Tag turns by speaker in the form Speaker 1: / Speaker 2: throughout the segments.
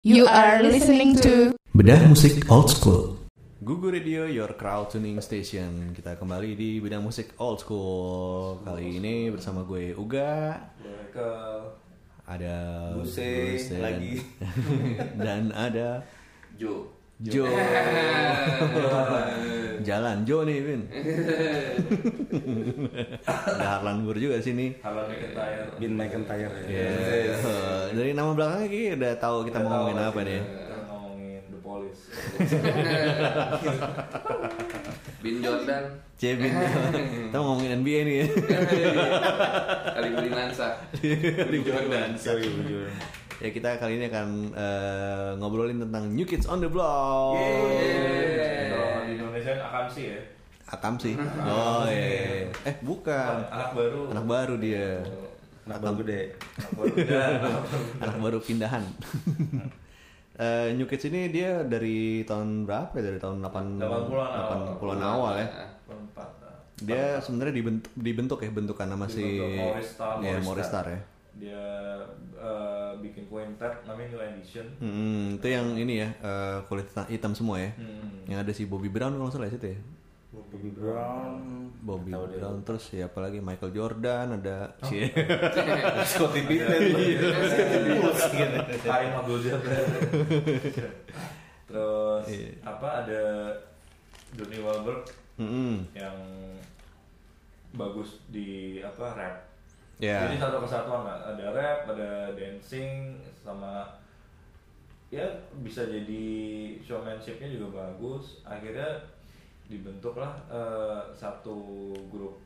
Speaker 1: You are listening to
Speaker 2: Bedah musik old school.
Speaker 3: Gugu Radio, your crowd tuning station. Kita kembali di bidang musik old school. Kali ini bersama gue Uga,
Speaker 4: mereka
Speaker 3: ada
Speaker 4: Buse
Speaker 3: Buse,
Speaker 4: lagi.
Speaker 3: dan ada
Speaker 4: Jo
Speaker 3: Jo. Jalan Jo nih, Vin. ada Harlan Bur juga sini.
Speaker 4: Harlan McIntyre
Speaker 5: Bin McIntyre ya.
Speaker 3: Iya. Dari nama belakangnya kayaknya udah tahu kita mau ngomongin apa nih.
Speaker 4: kita ngomongin The Police
Speaker 6: Bin Jordan
Speaker 3: Cebin. kita mau ngomongin NBA nih ya.
Speaker 6: kali beli Nansa
Speaker 3: Di Jordan. Ya kita kali ini akan eh, ngobrolin tentang New Kids on the Block.
Speaker 4: Oh, kalau di Indonesia akan sih ya
Speaker 3: Akam sih. Oh iya. Eh bukan.
Speaker 4: anak baru
Speaker 3: Anak baru dia.
Speaker 5: Anak baru gede.
Speaker 4: anak baru dan
Speaker 3: Anak baru pindahan. Eh, New Kids ini dia dari tahun berapa ya? Dari tahun 8
Speaker 4: 80-an awal.
Speaker 3: 80-an awal ya.
Speaker 4: perempat nah.
Speaker 3: Dia sebenarnya dibentuk, dibentuk ya bentukan nama si
Speaker 4: Dibentuk Morris Star,
Speaker 3: Iya,
Speaker 4: Morris
Speaker 3: Morris
Speaker 4: Star.
Speaker 3: Star ya.
Speaker 4: dia eh, bikin kuintet namanya New Edition
Speaker 3: Hmm, itu yang ini ya, eh, kulit hitam semua ya.
Speaker 4: Hmm.
Speaker 3: Yang ada si Bobby Brown kalau nggak salah ya, situ ya.
Speaker 5: Bobby Brown.
Speaker 3: Bobby Brown terus ya apalagi Michael Jordan ada
Speaker 4: Oh.
Speaker 3: Cie.
Speaker 4: Iya.
Speaker 5: Scottie Pippen.
Speaker 4: Karim Abdul Jabbar terus apa ada Donnie Wahlberg
Speaker 3: Mm-mm.
Speaker 4: yang bagus di apa rap
Speaker 3: Ya.
Speaker 4: Jadi satu kesatuan lah. ada rap, ada dancing, sama ya bisa jadi showmanshipnya juga bagus. Akhirnya dibentuklah eh, satu grup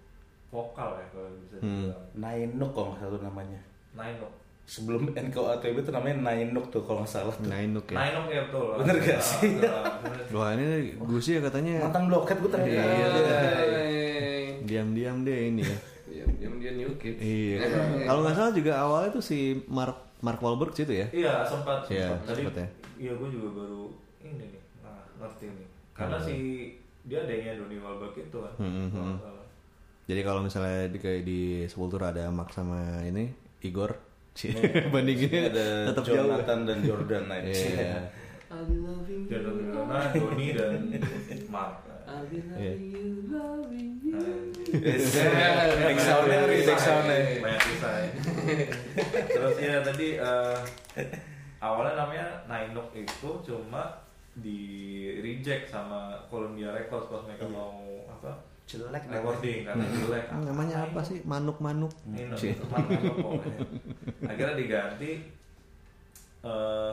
Speaker 4: vokal ya kalau bisa dibilang.
Speaker 5: Nainuk kalau nggak salah tuh namanya.
Speaker 4: Nainok.
Speaker 5: Sebelum NKOATB itu namanya Nainuk tuh kalau nggak salah tuh.
Speaker 3: Nainuk ya.
Speaker 4: Nainok ya betul.
Speaker 5: Bener gak
Speaker 4: Ah,
Speaker 5: sih?
Speaker 4: ah, bener.
Speaker 3: Wah ini Gusi ya katanya
Speaker 5: Mantan bloket gue terakhir.
Speaker 3: Iya.
Speaker 6: Yeay.
Speaker 3: diam-diam deh ini ya.
Speaker 6: diam-diam Iya, dia new kids
Speaker 3: iya. Kalau nggak salah juga awalnya tuh si Mark Mark Wahlberg situ ya.
Speaker 4: Iya sempat.
Speaker 3: Iya,
Speaker 4: sempat. Tadi
Speaker 3: sempat ya.
Speaker 4: iya gue juga baru ini nih nah, ngerti nih. Karena si dia adanya Donnie Wahlberg itu kan.
Speaker 3: Hmm, hmm,
Speaker 4: kalau
Speaker 3: hmm.
Speaker 4: nggak salah.
Speaker 3: Jadi kalau misalnya di, kayak di Sepultura ada Mark sama ini Igor. Cie,
Speaker 4: Oh,
Speaker 3: bandinginnya
Speaker 5: Ada
Speaker 3: tetap jauh. ya.
Speaker 5: Jonathan dan Jordan aja.
Speaker 3: Iya.
Speaker 6: I'm loving
Speaker 4: Dia Donnie Wahlberg, Donnie dan Mark.
Speaker 6: I've been
Speaker 3: Iya.
Speaker 6: loving you loving you
Speaker 5: Back soundnya ngeri, back soundnya.
Speaker 4: eh. banyak desain terus ya tadi eh, awalnya namanya Nainok itu cuma di reject sama Columbia Records pas
Speaker 3: Iya.
Speaker 4: mereka mau apa
Speaker 5: Jelek namanya.
Speaker 4: recording karena jelek
Speaker 3: Ah, namanya apa sih? Manuk-manuk.
Speaker 4: Nainok
Speaker 3: Cie.
Speaker 4: teman apa pokoknya. akhirnya diganti eh,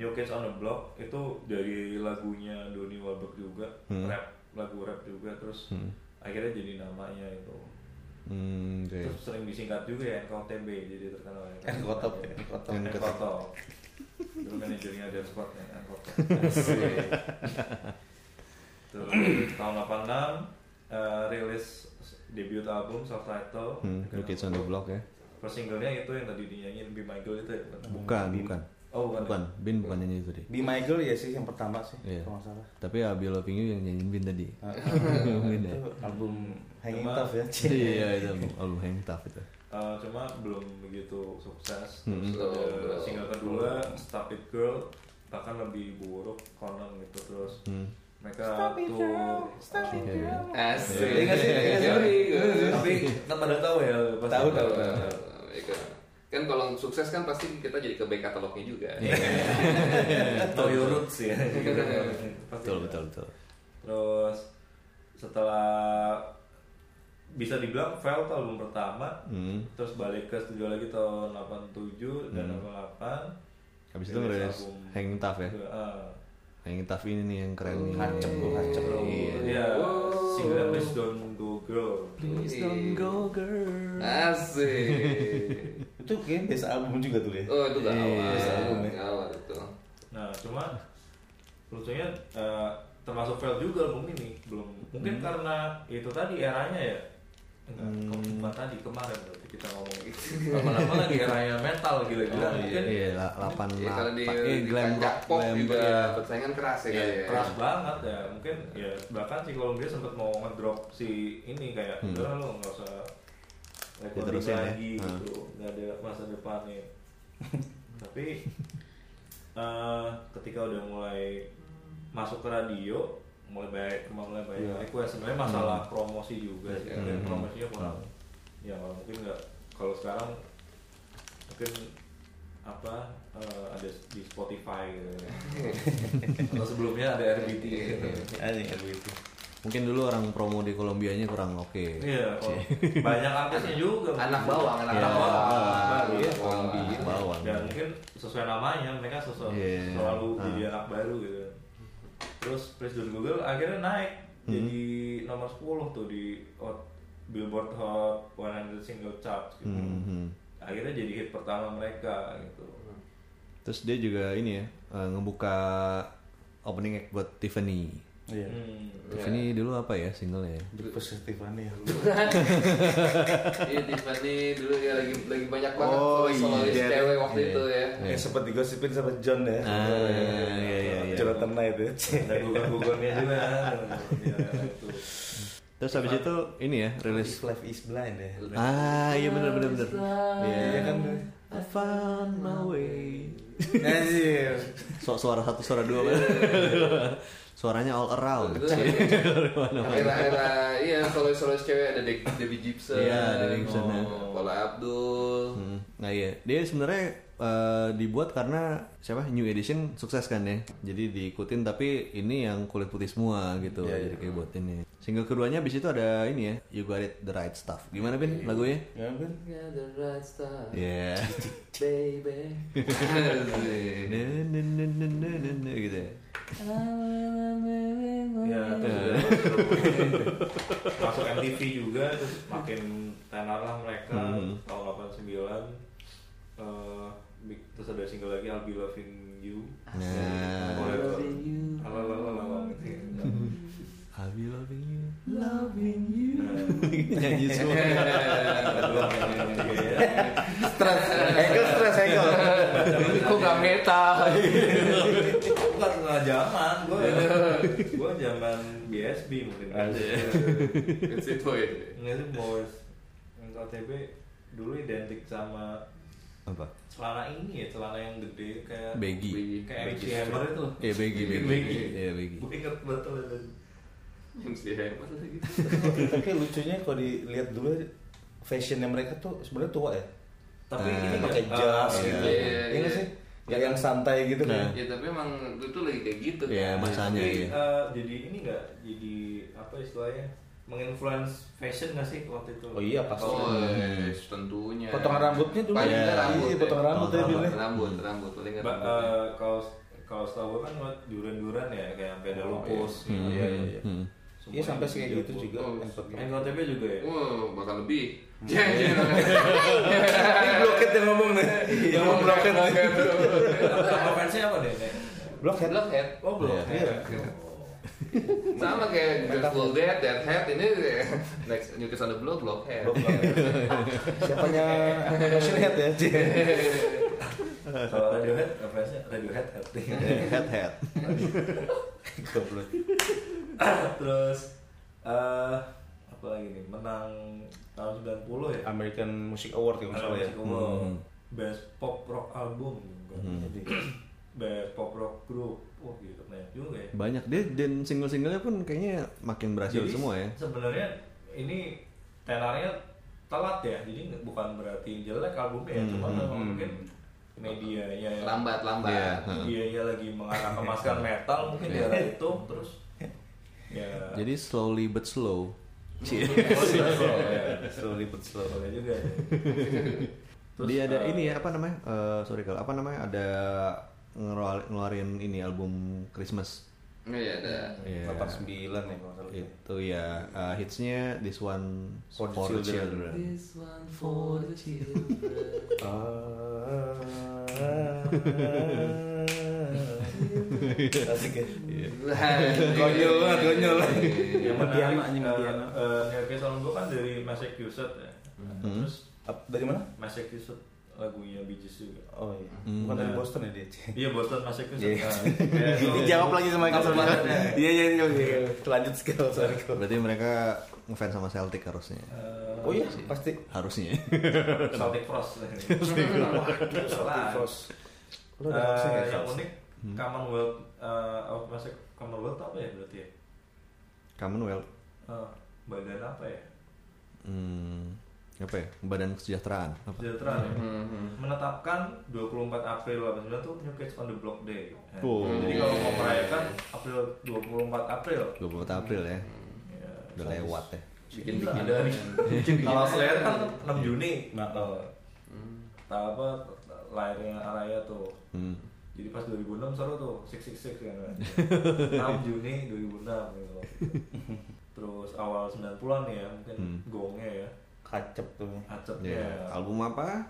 Speaker 4: New Kids on the Block itu dari lagunya Donny Wahlberg juga rap lagu rap juga terus akhirnya jadi namanya itu
Speaker 3: Hmm, oke.
Speaker 4: Terus sering disingkat juga ya NKOTB jadi terkenal ya.
Speaker 5: Nkotop ya, Nkotop.
Speaker 4: NKOTB. Dulu manajernya ada squad ya NKOTB. Terus tahun 86 eh, rilis debut album self title.
Speaker 3: Hmm, New Kids on the Block ya.
Speaker 4: First singlenya itu yang tadi dinyanyiin Be My Girl itu ya. bener?
Speaker 3: Bukan, bukan.
Speaker 4: Oh bukan.
Speaker 3: Bukan, Bin bukan nyanyi itu deh.
Speaker 5: Be Michael ya sih yang pertama sih
Speaker 3: Iya.
Speaker 5: kalau nggak salah.
Speaker 3: Tapi ya Bill Loving You yang nyanyiin Bin tadi. Mungkin ya.
Speaker 5: Itu album Hanging
Speaker 4: Cuma-
Speaker 5: Tough ya.
Speaker 3: Iya itu album Hang Tough itu.
Speaker 4: Eh, cuma belum begitu sukses.
Speaker 3: Hmm.
Speaker 4: Terus ada
Speaker 6: Belum.
Speaker 4: single kedua Stop It Girl bahkan lebih buruk konon gitu terus
Speaker 3: Hmm.
Speaker 4: mereka tuh Iya,
Speaker 6: asik
Speaker 5: Iya, nggak sih? Iya, nggak sih?
Speaker 6: Yoi, good.
Speaker 4: tapi kita pada tahu ya pasti
Speaker 5: Tahu, tahu, tahu.
Speaker 6: Eh, ikut. kan kalau sukses kan pasti kita jadi ke back katalognya juga
Speaker 3: Iya.
Speaker 4: tahu your roots ya
Speaker 5: Iya,
Speaker 4: Pasti.
Speaker 3: Betul betul betul.
Speaker 4: terus setelah bisa dibilang fail tuh album pertama
Speaker 3: Hmm.
Speaker 4: terus balik ke studio lagi tahun 87 dan 88
Speaker 3: Habis itu ngerilis
Speaker 4: album
Speaker 3: Hang Tough
Speaker 5: Eh.
Speaker 3: ya.
Speaker 4: kedua. Ah.
Speaker 3: Hang Tough ini nih yang keren nih.
Speaker 5: Hacep lu, hacep lu.
Speaker 4: Iya, single Please Don't Go Girl.
Speaker 6: Please don't go girl asik
Speaker 5: Itu kayaknya biasa album juga tuh ya.
Speaker 6: oh itu
Speaker 3: Iya.
Speaker 6: gak
Speaker 5: Biasa album
Speaker 6: awal
Speaker 5: ya.
Speaker 6: Gak awal itu
Speaker 4: Nah, cuma lucunya eh, termasuk fail juga album ini belum
Speaker 3: Hmm.
Speaker 4: mungkin karena itu tadi eranya ya enggak ke-
Speaker 3: Hmm.
Speaker 4: bukan tadi kemarin berarti kita ngomong gitu lama-lama lagi eranya metal gila-gila
Speaker 3: Oh,
Speaker 4: mungkin
Speaker 3: Iya, la- lapan
Speaker 6: ya kalau di,
Speaker 3: lapan. Eh,
Speaker 6: di
Speaker 3: glam
Speaker 6: kancah
Speaker 3: rock,
Speaker 6: pop
Speaker 3: glam
Speaker 6: juga
Speaker 3: rock, iya.
Speaker 6: persaingan keras ya kali ya
Speaker 4: kan? keras banget ya mungkin ya bahkan si Columbia sempat mau ngedrop si ini kayak udah lo nggak usah gitu. recording
Speaker 3: Diterusin Hmm. ya.
Speaker 4: lagi
Speaker 3: Hmm.
Speaker 4: ya. gitu nggak ada masa depannya tapi eh, ketika udah mulai masuk ke radio mulai banyak mulai banyak
Speaker 5: Iya.
Speaker 4: request sebenarnya masalah promosi juga sih
Speaker 6: Iya.
Speaker 4: mungkin promosinya kurang
Speaker 3: Hmm.
Speaker 4: ya kalau mungkin nggak kalau sekarang mungkin apa eh, ada di Spotify gitu ya. atau sebelumnya ada RBT gitu.
Speaker 5: Anjing LGBT.
Speaker 3: Mungkin dulu orang promo di Kolombianya kurang oke.
Speaker 4: Iya, kalau banyak artisnya juga.
Speaker 6: Anak bawang, anak
Speaker 3: Iya.
Speaker 6: bawang.
Speaker 4: Baru,
Speaker 6: Iya,
Speaker 4: bawang.
Speaker 6: kombi.
Speaker 3: Bawang.
Speaker 4: Dan mungkin sesuai namanya mereka sesu-
Speaker 3: Iya.
Speaker 4: selalu
Speaker 3: Ah.
Speaker 4: jadi anak baru gitu. Terus Presiden Google akhirnya naik jadi nomor 10 tuh di Hot- Billboard Hot 100 Single Chart gitu.
Speaker 3: Hmm, hmm.
Speaker 4: Akhirnya jadi hit pertama mereka gitu.
Speaker 3: Terus dia juga ini ya eh, ngebuka opening act buat Tiffany.
Speaker 5: Iya.
Speaker 4: Hmm.
Speaker 3: Tiffany dulu apa ya singlenya? ya?
Speaker 5: Di positifannya ya.
Speaker 6: Iya Tiffany dulu ya lagi lagi banyak banget
Speaker 5: Oh,
Speaker 6: solois
Speaker 5: iya.
Speaker 6: cewek waktu
Speaker 3: Iya.
Speaker 6: itu ya.
Speaker 3: Iya.
Speaker 5: Ini sempat digosipin sama John ya.
Speaker 3: Ah, iya, iya, iya.
Speaker 5: Jonathan Knight ya.
Speaker 4: Dan gugur-gugurnya juga. Iya,
Speaker 3: Ya,
Speaker 4: itu.
Speaker 3: Terus habis itu ini ya rilis.
Speaker 5: If Life is Blind ya.
Speaker 3: Ah iya benar benar benar.
Speaker 5: Iya kan.
Speaker 3: I found my way.
Speaker 5: Anjir.
Speaker 3: So, suara satu suara dua Suaranya all around.
Speaker 6: Terus, Era-era iya solois-solois cewek ada De- Debbie Gibson.
Speaker 3: Iya, Debbie Gibson, ya.
Speaker 6: oh, Paula Abdul.
Speaker 3: Hmm, Nah iya, dia sebenarnya eh, dibuat karena siapa New Edition sukses kan ya. Jadi diikutin tapi ini yang kulit putih semua gitu.
Speaker 5: Iya, iya.
Speaker 3: jadi kayak buat ini. Single keduanya abis itu ada ini ya, You Got It The Right Stuff. Gimana Bin lagunya?
Speaker 5: Ya kan.
Speaker 6: Yeah, the right stuff,
Speaker 3: Ya.
Speaker 6: baby.
Speaker 3: Na, na, na, na, na, na, na, gitu ya.
Speaker 4: Ya,
Speaker 3: ya.
Speaker 4: terus udah masuk MTV juga, terus makin tenar lah mereka
Speaker 3: Hmm.
Speaker 4: tahun 89. Eh, big- terus ada single lagi I'll Be Loving You.
Speaker 3: Nah.
Speaker 4: I'll Be Loving You. Alalalalang, gitu.
Speaker 3: I'll be loving you, loving you.
Speaker 4: Nah,
Speaker 3: Nyanyi semua.
Speaker 4: kedua mainnya juga ya.
Speaker 5: Stress. Angle stress angle.
Speaker 6: Kok gak metal?
Speaker 3: Iya.
Speaker 4: Bukan setengah zaman, gue gue zaman BSB mungkin. kan.
Speaker 6: It's it boy.
Speaker 4: Nggak sih, boys. KTB dulu identik sama
Speaker 3: Apa?
Speaker 4: celana ini ya celana yang gede kayak
Speaker 3: Baggy.
Speaker 4: kayak MC
Speaker 6: Baggy.
Speaker 4: Hammer itu
Speaker 3: Iya, Baggy, Baggy.
Speaker 4: Baggy.
Speaker 3: Iya, Baggy.
Speaker 4: gue inget betul itu
Speaker 6: MC Hammer lagi.
Speaker 5: Tapi lucunya kalau dilihat dulu fashionnya mereka tuh sebenarnya tua ya.
Speaker 4: tapi
Speaker 3: Eh,
Speaker 4: ini nggak-
Speaker 5: Pakai jas
Speaker 4: ah,
Speaker 5: gitu.
Speaker 4: iya.
Speaker 6: iya,
Speaker 5: Iya nggak
Speaker 6: iya.
Speaker 5: sih. Gak yang santai gitu
Speaker 3: Nah.
Speaker 5: kan.
Speaker 6: Ya tapi emang itu lagi kayak gitu.
Speaker 3: Iya,
Speaker 6: kan?
Speaker 3: masa- Rasanya,
Speaker 4: Tapi,
Speaker 3: iya.
Speaker 4: eh, jadi ini nggak jadi apa istilahnya menginfluence fashion nggak sih waktu itu
Speaker 5: Oh iya, pasti.
Speaker 6: Oh,
Speaker 4: Kalau-
Speaker 6: iya, tentunya.
Speaker 5: Potongan rambutnya dulu.
Speaker 6: Paling nggak
Speaker 3: Iya,
Speaker 6: rambut. ya.
Speaker 5: potongan rambut
Speaker 3: ya,
Speaker 6: rambut,
Speaker 5: Billy.
Speaker 6: rambut, rambut, paling nggak
Speaker 4: Ba-
Speaker 6: rambut.
Speaker 4: eh, kalau kalau setahu gue kan buat duran-duran ya kayak sampai ada
Speaker 5: Oh,
Speaker 4: lupus
Speaker 5: iya.
Speaker 4: gitu.
Speaker 5: Iya, iya, iya.
Speaker 3: Hmm.
Speaker 5: Iya sampai sih kayak gitu juga.
Speaker 6: Oh,
Speaker 5: Ini
Speaker 4: NKTB juga ya
Speaker 5: Hmm.
Speaker 6: Wah, bakal lebih. Ya, ya.
Speaker 5: bloket yang ngomong nih.
Speaker 6: Iya.
Speaker 5: Yang ngomong bloket.
Speaker 4: Nama fansnya apa deh Nek?
Speaker 5: Bloket.
Speaker 6: Blockhead.
Speaker 4: oh belum
Speaker 5: Iya.
Speaker 6: Sama kayak Grateful Dead, Deadhead ini eh, next New Kids on the Block, Blockhead.
Speaker 5: ya. Siapanya passionate ya. Ci?
Speaker 4: kalau Radiohead eh, fansnya Radiohead
Speaker 5: Iya,
Speaker 3: Head head.
Speaker 5: Goblok.
Speaker 4: terus eh apa lagi nih menang tahun 90 ya
Speaker 5: American Music Award kalau nggak salah ya.
Speaker 4: Music Award.
Speaker 3: Hmm.
Speaker 4: best pop rock album gitu.
Speaker 5: Jadi
Speaker 4: best pop rock group wah gitu banyak juga ya
Speaker 3: Banyak dia dan single-singlenya pun kayaknya makin berhasil
Speaker 4: Jadi,
Speaker 3: semua ya.
Speaker 4: sebenarnya ini tenarnya telat ya jadi nggak- bukan berarti jelek albumnya ya cuma
Speaker 3: Hmm.
Speaker 4: memang
Speaker 5: Hmm.
Speaker 4: mungkin medianya yang-
Speaker 6: Lambat, lambat.
Speaker 3: Iya.
Speaker 4: medianya lagi mengarah ke masker metal mungkin di arah itu terus ya
Speaker 3: Jadi slowly but slow.
Speaker 4: Oh, sudah, sudah, ya.
Speaker 5: slowly but iya. slow.
Speaker 4: Boleh juga ya. Terus,
Speaker 3: dia ada
Speaker 4: eh,
Speaker 3: ini ya apa namanya? Eh, sorry kalau apa namanya ada ngeluar- ngeluarin ini album Christmas
Speaker 6: Iya, iya, ada.
Speaker 3: Iya.
Speaker 5: 89 ya kalau nggak salah.
Speaker 3: itu ya eh, hitsnya this one
Speaker 5: For the
Speaker 3: the
Speaker 5: Children.
Speaker 6: This one for the children.
Speaker 5: Ah. Asik ya.
Speaker 6: Konyol
Speaker 5: banget, konyol.
Speaker 4: yang
Speaker 5: Mutiara,
Speaker 4: menarik
Speaker 5: anjing,
Speaker 4: eh,
Speaker 5: Mutiara.
Speaker 4: eh, Neil Peart Song Gue kan dari Massachusetts ya
Speaker 5: Hmm.
Speaker 4: terus
Speaker 5: Ap- Dari mana?
Speaker 4: Massachusetts lagunya Bee Gees juga
Speaker 5: Oh iya. Bukan dari Boston ya dia. Ci?
Speaker 4: iya Boston Massachusetts
Speaker 5: Iya.
Speaker 4: Nah, kayak itu-
Speaker 5: Dijawab lagi sama Michael
Speaker 4: Apa
Speaker 5: Sorgan.
Speaker 4: namanya?
Speaker 5: Iya iya iya, iya. Lanjut skill sorry.
Speaker 3: Berarti mereka ngefans sama Celtic harusnya.
Speaker 4: Eh,
Speaker 5: Oh iya pasti.
Speaker 3: Harusnya.
Speaker 4: Celtic Frost
Speaker 6: Wah,
Speaker 4: Celtic
Speaker 5: Frost. Lo ada hoaxnya nggak,
Speaker 4: Eh, yang
Speaker 5: hoax?
Speaker 4: unik
Speaker 5: Hmm.
Speaker 4: Commonwealth eh apa masa Commonwealth apa ya berarti ya?
Speaker 3: Commonwealth.
Speaker 4: Eh, badan apa ya?
Speaker 3: Hmm, apa ya? Badan kesejahteraan. Apa?
Speaker 4: Sejahtera ya?
Speaker 6: Mhm.
Speaker 4: menetapkan 24 April 89 tuh New Kids on the Block Day. Eh,
Speaker 3: Oh.
Speaker 4: Jadi kalau mau merayakan April 24 April.
Speaker 3: 24 April ya.
Speaker 5: Iya.
Speaker 4: Ya,
Speaker 3: Udah lewat ya.
Speaker 6: bikin
Speaker 4: Gila,
Speaker 6: bikin
Speaker 4: ada
Speaker 6: dari
Speaker 4: nih. Kalau Slayer kan 6 Juni.
Speaker 5: Nah.
Speaker 4: Natal. Tak apa lahirnya Araya tuh.
Speaker 3: Hmm.
Speaker 4: Jadi pas 2006 seru tuh 666 kan. 6 Juni 2006 gitu. Terus awal 90-an ya mungkin
Speaker 3: Hmm.
Speaker 4: gongnya ya.
Speaker 5: Kacep tuh.
Speaker 4: Acepnya.
Speaker 3: Ya,
Speaker 4: ya.
Speaker 3: album apa?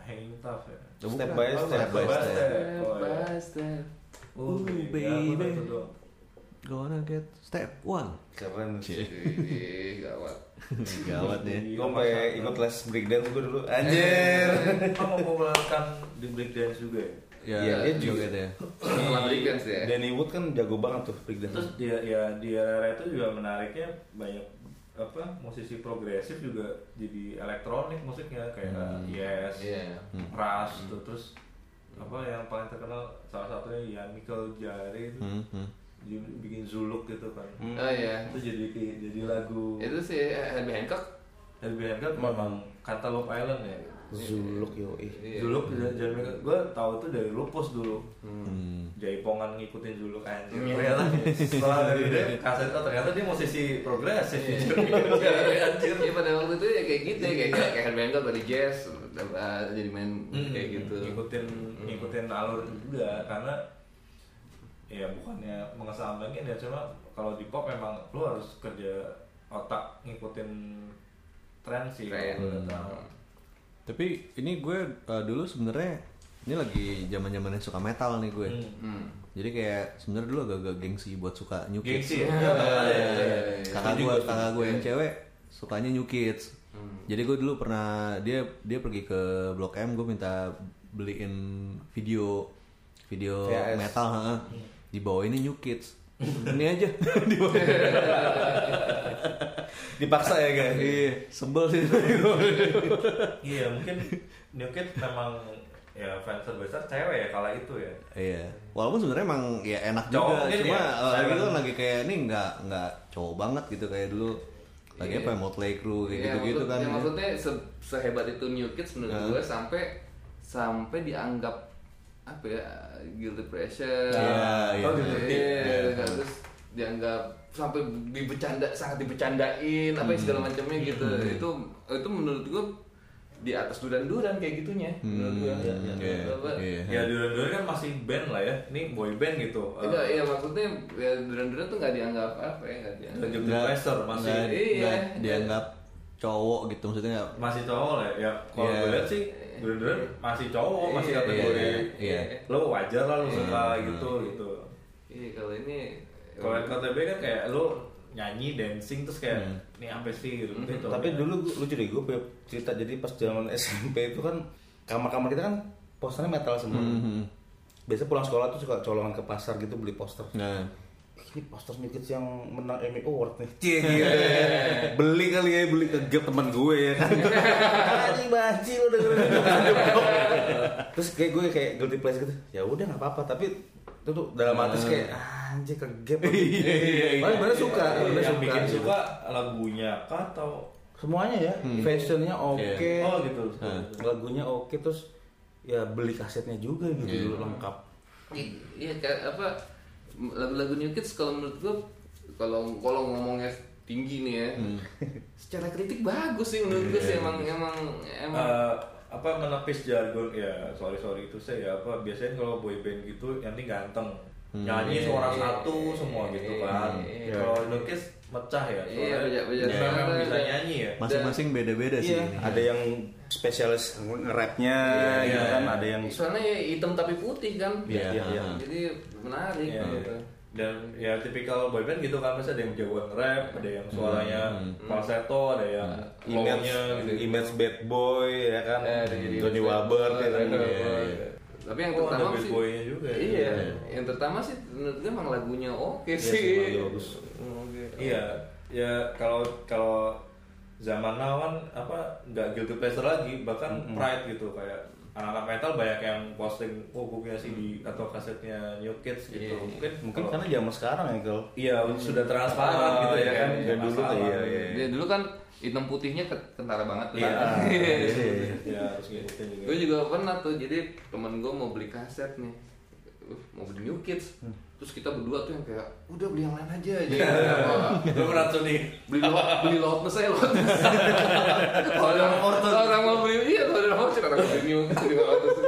Speaker 4: Hanging Tough ya.
Speaker 5: Iya. Step by
Speaker 3: Bukan.
Speaker 5: step.
Speaker 3: Step by step.
Speaker 4: Oh, iya. Oh, iya,
Speaker 3: Oh,
Speaker 4: baby.
Speaker 3: baby.
Speaker 4: Apa itu doang?
Speaker 3: Gonna get step one.
Speaker 5: Keren sih.
Speaker 6: Ih, gawat.
Speaker 3: Gawat nih.
Speaker 5: Gue sampai ikut Eh. les breakdance gue dulu. Anjir.
Speaker 4: Kamu mempopulerkan di breakdance juga ya?
Speaker 3: Ya,
Speaker 5: Iya, dia juga.
Speaker 3: joget ya.
Speaker 6: Setelah breakdance ya.
Speaker 5: Danny Wood kan jago banget tuh
Speaker 4: Terus
Speaker 5: breakdance.
Speaker 4: dia ya di era itu juga menariknya banyak apa musisi progresif juga jadi elektronik musiknya kayak Yes,
Speaker 6: Iya.
Speaker 4: Rush tuh. terus apa yang paling terkenal salah satunya ya Michael Jare itu
Speaker 3: Hmm, hmm.
Speaker 4: dia bikin Zuluk gitu kan.
Speaker 6: Oh iya.
Speaker 4: Itu jadi jadi lagu
Speaker 6: Itu si Herbie Hancock.
Speaker 4: Herbie Hancock memang Cantaloupe Island ya.
Speaker 5: Zuluk yoi.
Speaker 6: Iya.
Speaker 4: Zuluk Jare gue tahu itu dari Lupus dulu.
Speaker 3: Hmm.
Speaker 4: jaipongan ngikutin dulu kan ternyata setelah dari dia kaset oh, ternyata dia musisi progresif
Speaker 6: Iya,
Speaker 4: anjir
Speaker 6: Iya, pada waktu itu ya kayak gitu ya kayak kayak Herbie Hancock dari jazz eh, jadi main kayak gitu.
Speaker 4: Hmm. ngikutin ngikutin alur juga karena ya bukannya mengesampingkan ya cuma kalau di pop memang lu harus kerja otak ngikutin tren Hmm. sih
Speaker 6: Tren.
Speaker 4: kalau kata.
Speaker 3: Tapi ini gue uh, dulu sebenarnya ini lagi zaman zamannya suka metal nih gue.
Speaker 4: Hmm.
Speaker 6: Hmm.
Speaker 3: Jadi kayak sebenarnya dulu agak-agak gengsi buat suka New Kids.
Speaker 4: Gengsi ya?
Speaker 3: Iya,
Speaker 4: Iya, iya, iya,
Speaker 6: iya.
Speaker 3: Kakak gue, kakak gue yang cewek sukanya New Kids.
Speaker 6: Hmm.
Speaker 3: Jadi gue dulu pernah dia dia pergi ke Blok M, gue minta beliin video video
Speaker 5: VHS.
Speaker 3: metal, heeh. Di bawah ini New Kids. ini aja di bawah.
Speaker 5: Dipaksa ya guys.
Speaker 3: Iya, sebel sih.
Speaker 4: iya mungkin New Kids memang ya fans terbesar cewek ya kala itu ya
Speaker 3: Iya. Walaupun sebenarnya emang ya enak
Speaker 4: Cowok
Speaker 3: juga,
Speaker 4: mungkin
Speaker 3: cuma
Speaker 4: ya,
Speaker 3: eh, lagi
Speaker 4: silent.
Speaker 3: kan lagi kayak ini nggak nggak cowok banget gitu kayak dulu lagi
Speaker 6: Iya.
Speaker 3: apa ya, Motley Crue kayak
Speaker 6: Ya,
Speaker 3: gitu-gitu
Speaker 6: maksud-
Speaker 3: kan.
Speaker 6: ya, maksudnya se- sehebat itu New Kids menurut
Speaker 3: Heeh.
Speaker 6: gue sampai sampai dianggap apa ya guilty pleasure.
Speaker 3: Iya, iya.
Speaker 4: Oh, guilty.
Speaker 6: Iya, terus dianggap sampai dibecanda sangat dibecandain apa ya,
Speaker 3: Hmm.
Speaker 6: segala macamnya gitu. Itu itu menurut gue di atas duran-duran kayak gitunya menurut gue.
Speaker 3: Hmm, iya,
Speaker 6: Apa-
Speaker 3: iya.
Speaker 4: Ya dulu-dulu kan masih band lah ya, ini boy band gitu.
Speaker 6: Enggak, iya maksudnya ya, duran-duran tuh nggak dianggap apa ya nggak dianggap.
Speaker 4: Lanjut
Speaker 3: Nggak-
Speaker 4: Leicester masih
Speaker 3: nggak-
Speaker 6: Iya.
Speaker 3: nggak dianggap cowok gitu maksudnya nggak
Speaker 4: masih cowok lah ya. Kalau
Speaker 3: Iya.
Speaker 4: gue lihat sih dulu-dulu
Speaker 5: Iya.
Speaker 4: masih cowok, Oh, masih
Speaker 6: Iya,
Speaker 4: kategori
Speaker 3: iya.
Speaker 4: lo wajar lah
Speaker 5: Iya.
Speaker 4: lo suka gitu gitu.
Speaker 6: Iya kalau ini
Speaker 4: Kalau KTB kan kayak lo nyanyi, dancing terus kayak ini apa sih gitu. gitu.
Speaker 5: Iya. Tapi dulu gua- lucu deh gue punya cerita jadi pas zaman SMP itu kan kamar-kamar kita kan posternya metal semua.
Speaker 4: Mm-hmm.
Speaker 5: Biasa pulang sekolah tuh suka colongan ke pasar gitu beli poster.
Speaker 4: Ya.
Speaker 3: Nah,
Speaker 5: Ini poster New Kids yang menang Emmy Award nih. Cie gitu. beli kali ya beli ke gap teman gue ya kan. Anjing banci lu dengerin. Terus kayak gue kayak guilty pleasure gitu. Ya udah nggak apa-apa tapi itu tuh dalam hati terus kayak "Ah, anjing ke gap.
Speaker 4: Iya,
Speaker 5: Padahal bener suka, bener
Speaker 4: yang
Speaker 5: suka. gitu.
Speaker 4: bikin suka lagunya kah atau
Speaker 5: Semuanya ya, fashionnya oke
Speaker 4: oh gitu.
Speaker 5: lagunya oke terus ya beli kasetnya juga gitu dulu lengkap
Speaker 6: I- Iya kayak apa lagu-lagu New Kids kalau menurut gua kalau kalau ngomongnya tinggi nih ya.
Speaker 5: Hmm.
Speaker 6: Secara kritik bagus sih menurut gua sih
Speaker 5: Iya,
Speaker 6: emang emang emang
Speaker 4: Eh, apa menepis jargon ya sorry sorry itu saya ya apa biasanya kalau boy band gitu yang penting ganteng
Speaker 5: Hmm.
Speaker 4: nyanyi suara satu semua gitu kan
Speaker 6: Iya.
Speaker 4: kalau lukis mecah ya
Speaker 6: Iya, bejak- bejak
Speaker 4: Memang
Speaker 6: suara
Speaker 4: bisa
Speaker 6: dan-
Speaker 4: nyanyi ya
Speaker 5: Iya,
Speaker 3: masing-masing beda-beda sih ini.
Speaker 5: ada yang spesialis
Speaker 6: Iya,
Speaker 5: nge-rapnya
Speaker 4: Eh, iya,
Speaker 5: gitu kan ada yang
Speaker 6: soalnya ya hitam tapi putih kan.
Speaker 3: Iya,
Speaker 5: iya, iya.
Speaker 6: Jadi menarik
Speaker 4: Iya,
Speaker 6: gitu.
Speaker 4: iya. dan ya tipikal boy band gitu kan pasti ada yang jagoan rap ada yang
Speaker 5: Hmm,
Speaker 4: suaranya falsetto ada yang
Speaker 5: Nah, image
Speaker 4: low-nya gitu
Speaker 5: image bad boy ya kan
Speaker 6: Eh, ada jadi-
Speaker 5: Donny Waber ya kan
Speaker 6: Donny
Speaker 5: Iya,
Speaker 6: Waber.
Speaker 5: iya.
Speaker 6: Tapi yang
Speaker 4: Oh, ada
Speaker 6: pertama
Speaker 4: bad
Speaker 6: sih
Speaker 4: boy-nya juga ya.
Speaker 6: Iya, yang pertama sih menurut gua emang lagunya oke
Speaker 5: Iya
Speaker 6: sih.
Speaker 5: sih, lagunya bagus.
Speaker 6: Oke.
Speaker 4: iya ya kalau kalau zaman now kan apa nggak guilty pleasure lagi bahkan pride gitu kayak anak-anak metal banyak yang posting oh gue punya CD atau kasetnya New Kids gitu
Speaker 6: Iya.
Speaker 4: mungkin
Speaker 5: Mungkin
Speaker 4: kalau-
Speaker 5: karena zaman sekarang ya kalau
Speaker 4: iya sudah transparan
Speaker 6: Ah,
Speaker 4: gitu ya kan
Speaker 5: iya, dulu tuh, iya, iya.
Speaker 6: Dia dulu kan hitam putihnya ke- kentara banget tuh.
Speaker 4: Iya.
Speaker 5: Iya.
Speaker 4: ya harus ngikutin juga
Speaker 6: gue juga pernah tuh jadi temen gue mau beli kaset nih Uh, mau beli New Kids
Speaker 5: Hmm.
Speaker 6: terus kita berdua tuh yang kayak udah beli yang lain aja aja
Speaker 5: Iya.
Speaker 4: gue merasa nih
Speaker 6: beli lo beli loudness aja loudness kalau orang kalau orang mau beli iya kalau orang mau sih orang beli new gitu beli loudness.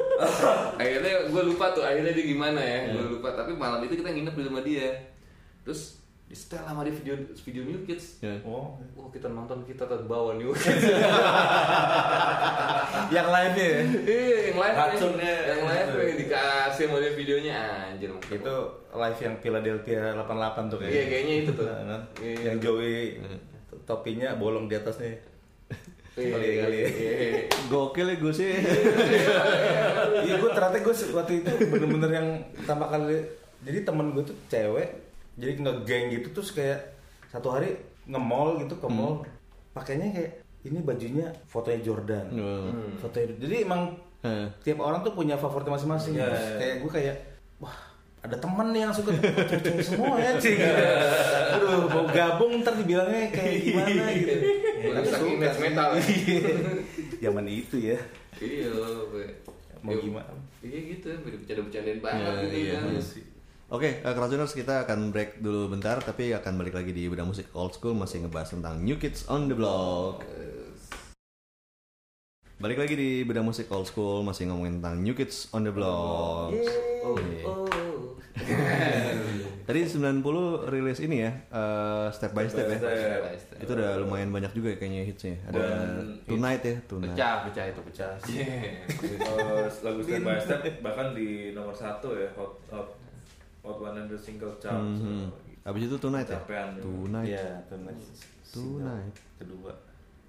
Speaker 6: akhirnya gue lupa tuh akhirnya dia gimana ya gue
Speaker 5: Iya.
Speaker 6: lupa tapi malam itu kita nginep di rumah dia terus ya di setel sama dia video video new kids
Speaker 3: Ya.
Speaker 5: Oh.
Speaker 6: Wah kita nonton kita ke bawah new kids
Speaker 5: Yang lainnya ya.
Speaker 6: Iya, yang live nih.
Speaker 4: Racunnya.
Speaker 6: yang live nih, dikasih sama dia videonya anjir
Speaker 5: Itu live yang Philadelphia 88 tuh kayaknya.
Speaker 6: Iya, kayaknya itu tuh.
Speaker 5: Nah, nah.
Speaker 6: Iya.
Speaker 5: Yang Joey topinya bolong di atasnya. Kali ya, kali ya.
Speaker 6: Iya, iya.
Speaker 3: Gokil ya gue sih.
Speaker 5: Iya gue ternyata gue waktu itu bener-bener yang pertama kali jadi temen gue tuh cewek jadi ngegeng gitu terus kayak satu hari nge-mall gitu ke mall pakainya kayak ini bajunya fotonya Jordan
Speaker 3: Hmm.
Speaker 5: fotonya jadi emang
Speaker 3: Hmm.
Speaker 5: tiap orang tuh punya favoritnya masing-masing
Speaker 4: Iya,
Speaker 5: Terus
Speaker 4: iya.
Speaker 5: kayak gue kayak wah ada temen nih yang suka cewek semua ya cing gitu. aduh mau gabung ntar dibilangnya kayak gimana gitu
Speaker 6: Orang
Speaker 5: Gue
Speaker 6: saking
Speaker 5: suka
Speaker 6: match
Speaker 5: sih.
Speaker 6: metal.
Speaker 5: Iya. zaman itu ya
Speaker 6: Iya, gue.
Speaker 5: Mau
Speaker 6: Iya,
Speaker 5: gimana?
Speaker 6: Iya gitu, bercanda-bercandain banget
Speaker 3: Ya,
Speaker 6: gitu
Speaker 3: iya,
Speaker 6: kan.
Speaker 3: iya sih. Oke, eh, Kerajuners, kita akan break dulu bentar, tapi akan balik lagi di bidang musik old school masih ngebahas tentang New Kids on the Block. Balik lagi di bidang musik old school masih ngomongin tentang New Kids on the Block.
Speaker 6: Oh,
Speaker 3: Iya.
Speaker 6: oh.
Speaker 3: Tadi 90 rilis ini ya, eh, step by step, ya.
Speaker 6: Iya,
Speaker 4: Step by
Speaker 3: Itu udah lumayan banyak juga ya kayaknya hitsnya. Ada
Speaker 4: Dan
Speaker 3: Tonight ya, Tonight.
Speaker 6: Pecah, pecah itu pecah.
Speaker 4: Eh, lagu step by step bahkan di nomor satu ya hot hot hot 100 single gitu. chart
Speaker 3: Mhm. Abis itu Tonight ya.
Speaker 4: Capean.
Speaker 3: Tonight.
Speaker 5: Iya, tonight.
Speaker 3: Tonight.
Speaker 5: Kedua.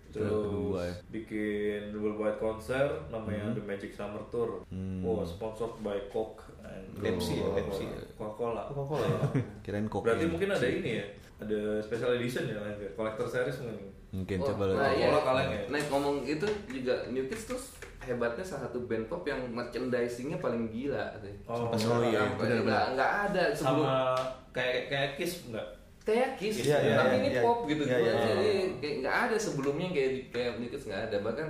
Speaker 3: Itu yang kedua ya.
Speaker 4: terus bikin double wide konser namanya The Magic Summer Tour
Speaker 3: Hmm.
Speaker 4: wow sponsored by Coke and
Speaker 5: Pepsi ya,
Speaker 4: Coca-Cola.
Speaker 5: Pepsi ya.
Speaker 4: Coca-Cola
Speaker 5: Coca-Cola ya.
Speaker 3: Kirain kopi.
Speaker 4: berarti mungkin ada ini ya ada special edition ya Lanfir? collector series mungkin
Speaker 3: Mungkin
Speaker 6: Oh,
Speaker 3: coba
Speaker 6: nah,
Speaker 3: lihat.
Speaker 6: iya.
Speaker 4: Bola kaleng ya?
Speaker 6: Nah, ngomong itu juga New Kids tuh hebatnya salah satu band pop yang merchandisingnya paling gila sih.
Speaker 4: Oh,
Speaker 3: oh iya,
Speaker 6: Sampai
Speaker 3: benar-benar.
Speaker 6: nggak- nggak ada sebelum
Speaker 4: sama kayak kayak Kiss enggak
Speaker 6: kayak Kiss
Speaker 5: Iya, iya,
Speaker 6: tapi
Speaker 5: iya,
Speaker 6: ini
Speaker 5: iya.
Speaker 6: pop gitu
Speaker 5: Iya,
Speaker 6: gua
Speaker 5: iya,
Speaker 6: jadi
Speaker 5: iya.
Speaker 6: kayak nggak ada sebelumnya kayak di kayak New Kids nggak ada bahkan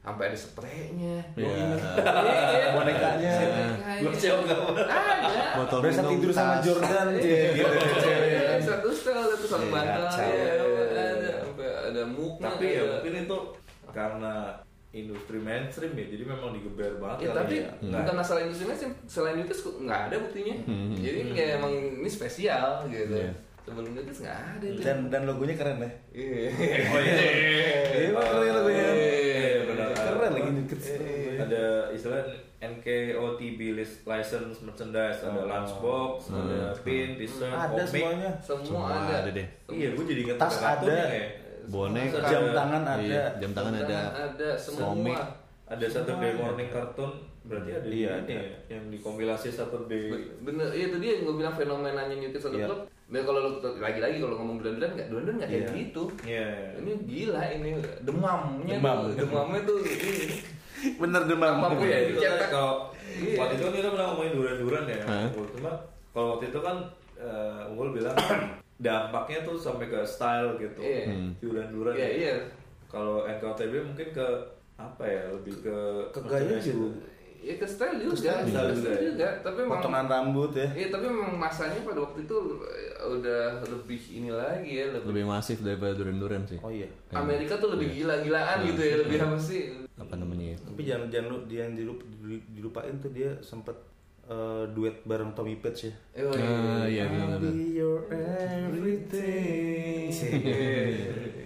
Speaker 6: sampai ada spraynya
Speaker 3: Iya.
Speaker 5: Iya, Bonekanya.
Speaker 6: Iya.
Speaker 4: Gua siap nggak?
Speaker 6: ada
Speaker 3: Botol
Speaker 5: Biasa
Speaker 3: minum,
Speaker 5: tidur sama
Speaker 3: tas.
Speaker 5: Jordan cie, gitu.
Speaker 6: Iya, satu setel satu sama
Speaker 5: Iya,
Speaker 6: bantal
Speaker 5: kacau.
Speaker 6: iya, ada sampai ada mukna
Speaker 4: tapi ya
Speaker 6: ada-
Speaker 4: mungkin itu karena industri mainstream ya jadi memang digeber banget
Speaker 6: Ya,
Speaker 4: kali
Speaker 6: tapi
Speaker 4: ya.
Speaker 6: bukan masalah industrinya sih selain itu kok nggak ada buktinya jadi
Speaker 4: Hmm.
Speaker 6: kayak emang ini spesial gitu
Speaker 3: Iya.
Speaker 6: sebelum itu nggak ada itu
Speaker 5: Dan dan logonya keren ya.
Speaker 6: Iya.
Speaker 4: oh iya
Speaker 5: Iya, emang keren logonya.
Speaker 4: Iya, benar. iya.
Speaker 5: Keren lagi nyeket.
Speaker 4: ada istilah NKOTB list- license merchandise ada lunchbox ada pin t-shirt
Speaker 5: Oh. Hmm. Ada
Speaker 4: komik.
Speaker 5: semuanya.
Speaker 6: semua
Speaker 3: Semua
Speaker 6: ada,
Speaker 3: ada deh.
Speaker 4: iya gue jadi inget
Speaker 5: Tas
Speaker 4: kartunnya
Speaker 5: ada.
Speaker 4: ya.
Speaker 3: Bonek.
Speaker 6: Semua
Speaker 5: Jam
Speaker 6: ada.
Speaker 5: tangan ada.
Speaker 3: Iya, jam tangan ada.
Speaker 6: ada semua
Speaker 3: Komik.
Speaker 4: ada Saturday morning kartun berarti ada di
Speaker 5: Iya,
Speaker 4: ini
Speaker 5: ada.
Speaker 4: ya yang dikompilasi Saturday
Speaker 6: bener iya tadi yang gue bilang fenomenanya New Kids on the
Speaker 5: Iya.
Speaker 6: Block dan kalau lu- lagi-lagi kalau ngomong dulan-dulan nggak dulan-dulan nggak kayak
Speaker 5: Iya.
Speaker 6: gitu
Speaker 4: Iya.
Speaker 6: ini gila ini demamnya
Speaker 5: Demam.
Speaker 6: tuh demamnya tuh ini
Speaker 5: Bener demam.
Speaker 6: Apa ya?
Speaker 4: Itu kan
Speaker 6: Dicetak.
Speaker 4: kalau
Speaker 6: Iya.
Speaker 4: waktu itu kan kita pernah ngomongin duran-duran ya.
Speaker 3: Hah?
Speaker 4: Unggul. Cuma kalau waktu itu kan eh, Unggul bilang dampaknya tuh sampai ke style gitu.
Speaker 6: Iya.
Speaker 4: Hmm. Duran-duran.
Speaker 6: Iya, iya.
Speaker 4: Kalau NKTB mungkin ke apa ya? Lebih ke
Speaker 5: Ke gaya
Speaker 4: merchandise gitu.
Speaker 5: juga.
Speaker 6: ya ke style juga
Speaker 4: Style
Speaker 6: ke style
Speaker 4: juga.
Speaker 6: juga tapi emang
Speaker 5: Potongan rambut ya.
Speaker 6: Iya tapi memang masanya pada waktu itu eh, udah lebih ini lagi ya lebih,
Speaker 3: lebih masif daripada duren-duren sih.
Speaker 5: Oh iya.
Speaker 6: Amerika tuh lebih gila-gilaan
Speaker 3: Iya,
Speaker 6: gitu ya lebih apa sih?
Speaker 3: Apa namanya ya?
Speaker 5: Tapi jangan jangan lu- dia yang dilup- dilupain tuh dia sempet eh, duet bareng Tommy Page ya.
Speaker 6: Eh, oh,
Speaker 3: Ah, iya
Speaker 5: I'll
Speaker 3: benar-benar.
Speaker 5: be your everything.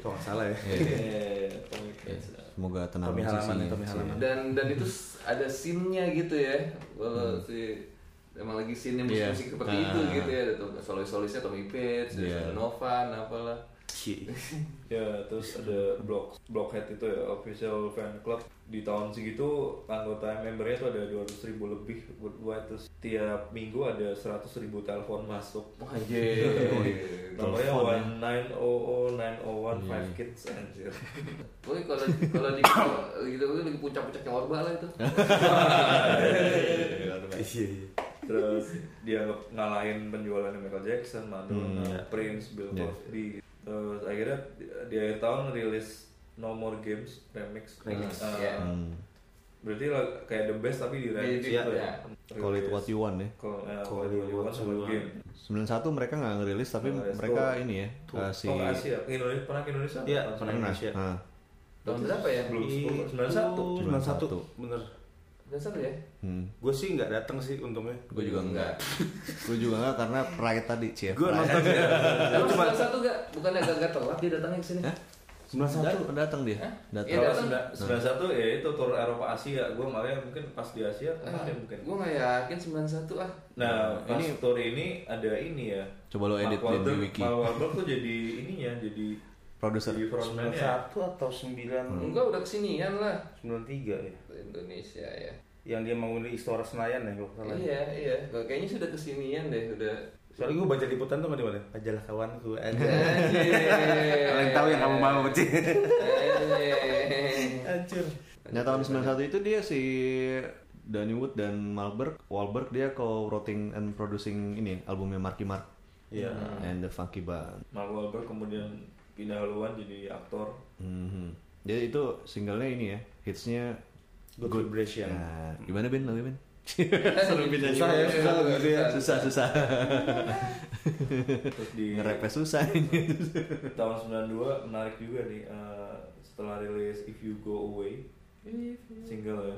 Speaker 5: Kok nggak salah ya?
Speaker 4: Iya, komik.
Speaker 3: Semoga tenang
Speaker 5: Tommy Halaman
Speaker 3: sisinya
Speaker 5: ya, Tommy
Speaker 3: sih. Iya,
Speaker 5: Halaman.
Speaker 6: Dan dan itu s- ada scene-nya gitu ya. Kalau si emang lagi scene-nya
Speaker 3: Hmm. Iya.
Speaker 6: musik-musik seperti itu
Speaker 3: Ah.
Speaker 6: gitu ya. Ada tuh solis-solisnya Tommy Page,
Speaker 3: Iya.
Speaker 6: yeah. Novan, apalah.
Speaker 5: Cie.
Speaker 4: Ya, terus ada blog Blockhead itu ya official fan club di tahun segitu anggota membernya tuh ada 200 ribu lebih worldwide terus tiap minggu ada 100.000 ribu telepon masuk
Speaker 6: Iya,
Speaker 5: Oh, iya.
Speaker 6: Anjir.
Speaker 4: Nomornya
Speaker 3: Telepon, ya.
Speaker 4: one nine oh oh nine oh one five kids anjir.
Speaker 6: Woi kalau kalau di kalau gitu itu lagi puncak-puncaknya Orba lah itu.
Speaker 5: Iya iya.
Speaker 4: Terus dia ngalahin penjualannya Michael Jackson, Madonna, Prince, Bill Cosby. Terus akhirnya di, di akhir tahun rilis No More Games remix.
Speaker 6: Remix,
Speaker 4: Nah,
Speaker 6: ya.
Speaker 3: Hmm.
Speaker 4: Berarti lah- kayak the best tapi di remix
Speaker 6: Di- di-
Speaker 4: gitu
Speaker 6: ya.
Speaker 4: ya.
Speaker 3: Call it what you want ya.
Speaker 4: Call, eh, Call
Speaker 5: Call
Speaker 4: It What You Want sama game.
Speaker 3: 91 mereka nggak ngerilis tapi
Speaker 4: Nggak ngerilis.
Speaker 3: mereka
Speaker 4: Tuh.
Speaker 3: ini ya eh, si
Speaker 4: Oh ke Asia, Ke Indonesia pernah ke Indonesia?
Speaker 5: Iya,
Speaker 4: Langsung.
Speaker 5: pernah.
Speaker 3: pernah.
Speaker 5: Indonesia.
Speaker 3: Ah.
Speaker 6: Tahun berapa ya?
Speaker 4: Belum sepuluh,
Speaker 5: Iya, Sembilan
Speaker 4: 91.
Speaker 5: satu, bener.
Speaker 6: Tahun satu
Speaker 5: Eh,
Speaker 6: ya?
Speaker 3: Hmm.
Speaker 5: Gue sih nggak datang sih untungnya.
Speaker 6: Gue juga enggak.
Speaker 3: Gue juga nggak karena pride tadi cie.
Speaker 5: Gue
Speaker 3: Pride.
Speaker 5: nonton
Speaker 6: Emang sembilan satu enggak? Bukannya agak-agak telat dia datangnya ke sini?
Speaker 5: sembilan satu.
Speaker 3: Dat- datang dia.
Speaker 6: Hah?
Speaker 3: Datang.
Speaker 6: Iya,
Speaker 4: Kalau
Speaker 6: datang.
Speaker 4: sembilan- 91 ya itu tur Eropa Asia, gue malah mungkin pas di Asia
Speaker 6: Ah,
Speaker 4: kemarin mungkin.
Speaker 6: gue nggak yakin 91 ah
Speaker 4: Nah, pas
Speaker 3: Ini-
Speaker 4: tour ini ada ini ya.
Speaker 3: Coba lo edit di-
Speaker 4: Mark
Speaker 3: di
Speaker 4: Wahlberg-
Speaker 3: wiki.
Speaker 4: Mark Wahlberg tuh jadi ininya, jadi
Speaker 3: Produser.
Speaker 4: jadi ya.
Speaker 5: Sembilan
Speaker 4: frontman-nya.
Speaker 5: satu atau sembilan
Speaker 6: Enggak udah kesinian lah
Speaker 5: sembilan tiga ya.
Speaker 6: Ke Indonesia ya
Speaker 5: Yang dia mau di Istora Senayan ya kalau nggak salah.
Speaker 6: Iya iya Gua kayaknya sudah kesinian deh udah
Speaker 5: Soalnya gue baca liputan tuh mana mana. Ajalah kawanku. Aja.
Speaker 6: Kalian
Speaker 5: Kalian tahu yang kamu mau sih. Hancur.
Speaker 3: Nah tahun 91 itu dia si Danny Wood dan Wahlberg, Wahlberg dia co-writing and producing ini albumnya Marky Mark
Speaker 5: Iya.
Speaker 3: and the Funky Band.
Speaker 4: Mark Wahlberg kemudian pindah haluan jadi aktor.
Speaker 3: Mhm. Jadi itu singlenya ini ya hitsnya
Speaker 5: Good Ya. Vibration.
Speaker 3: Nah, gimana Ben? Lagu Ben?
Speaker 6: Seru beda
Speaker 5: Iya. Susah ya, susah gitu ya.
Speaker 3: susah susah.
Speaker 4: Terus di
Speaker 3: Ngerepnya susah ini.
Speaker 4: tahun 92 menarik juga nih eh, setelah rilis If You Go Away single ya.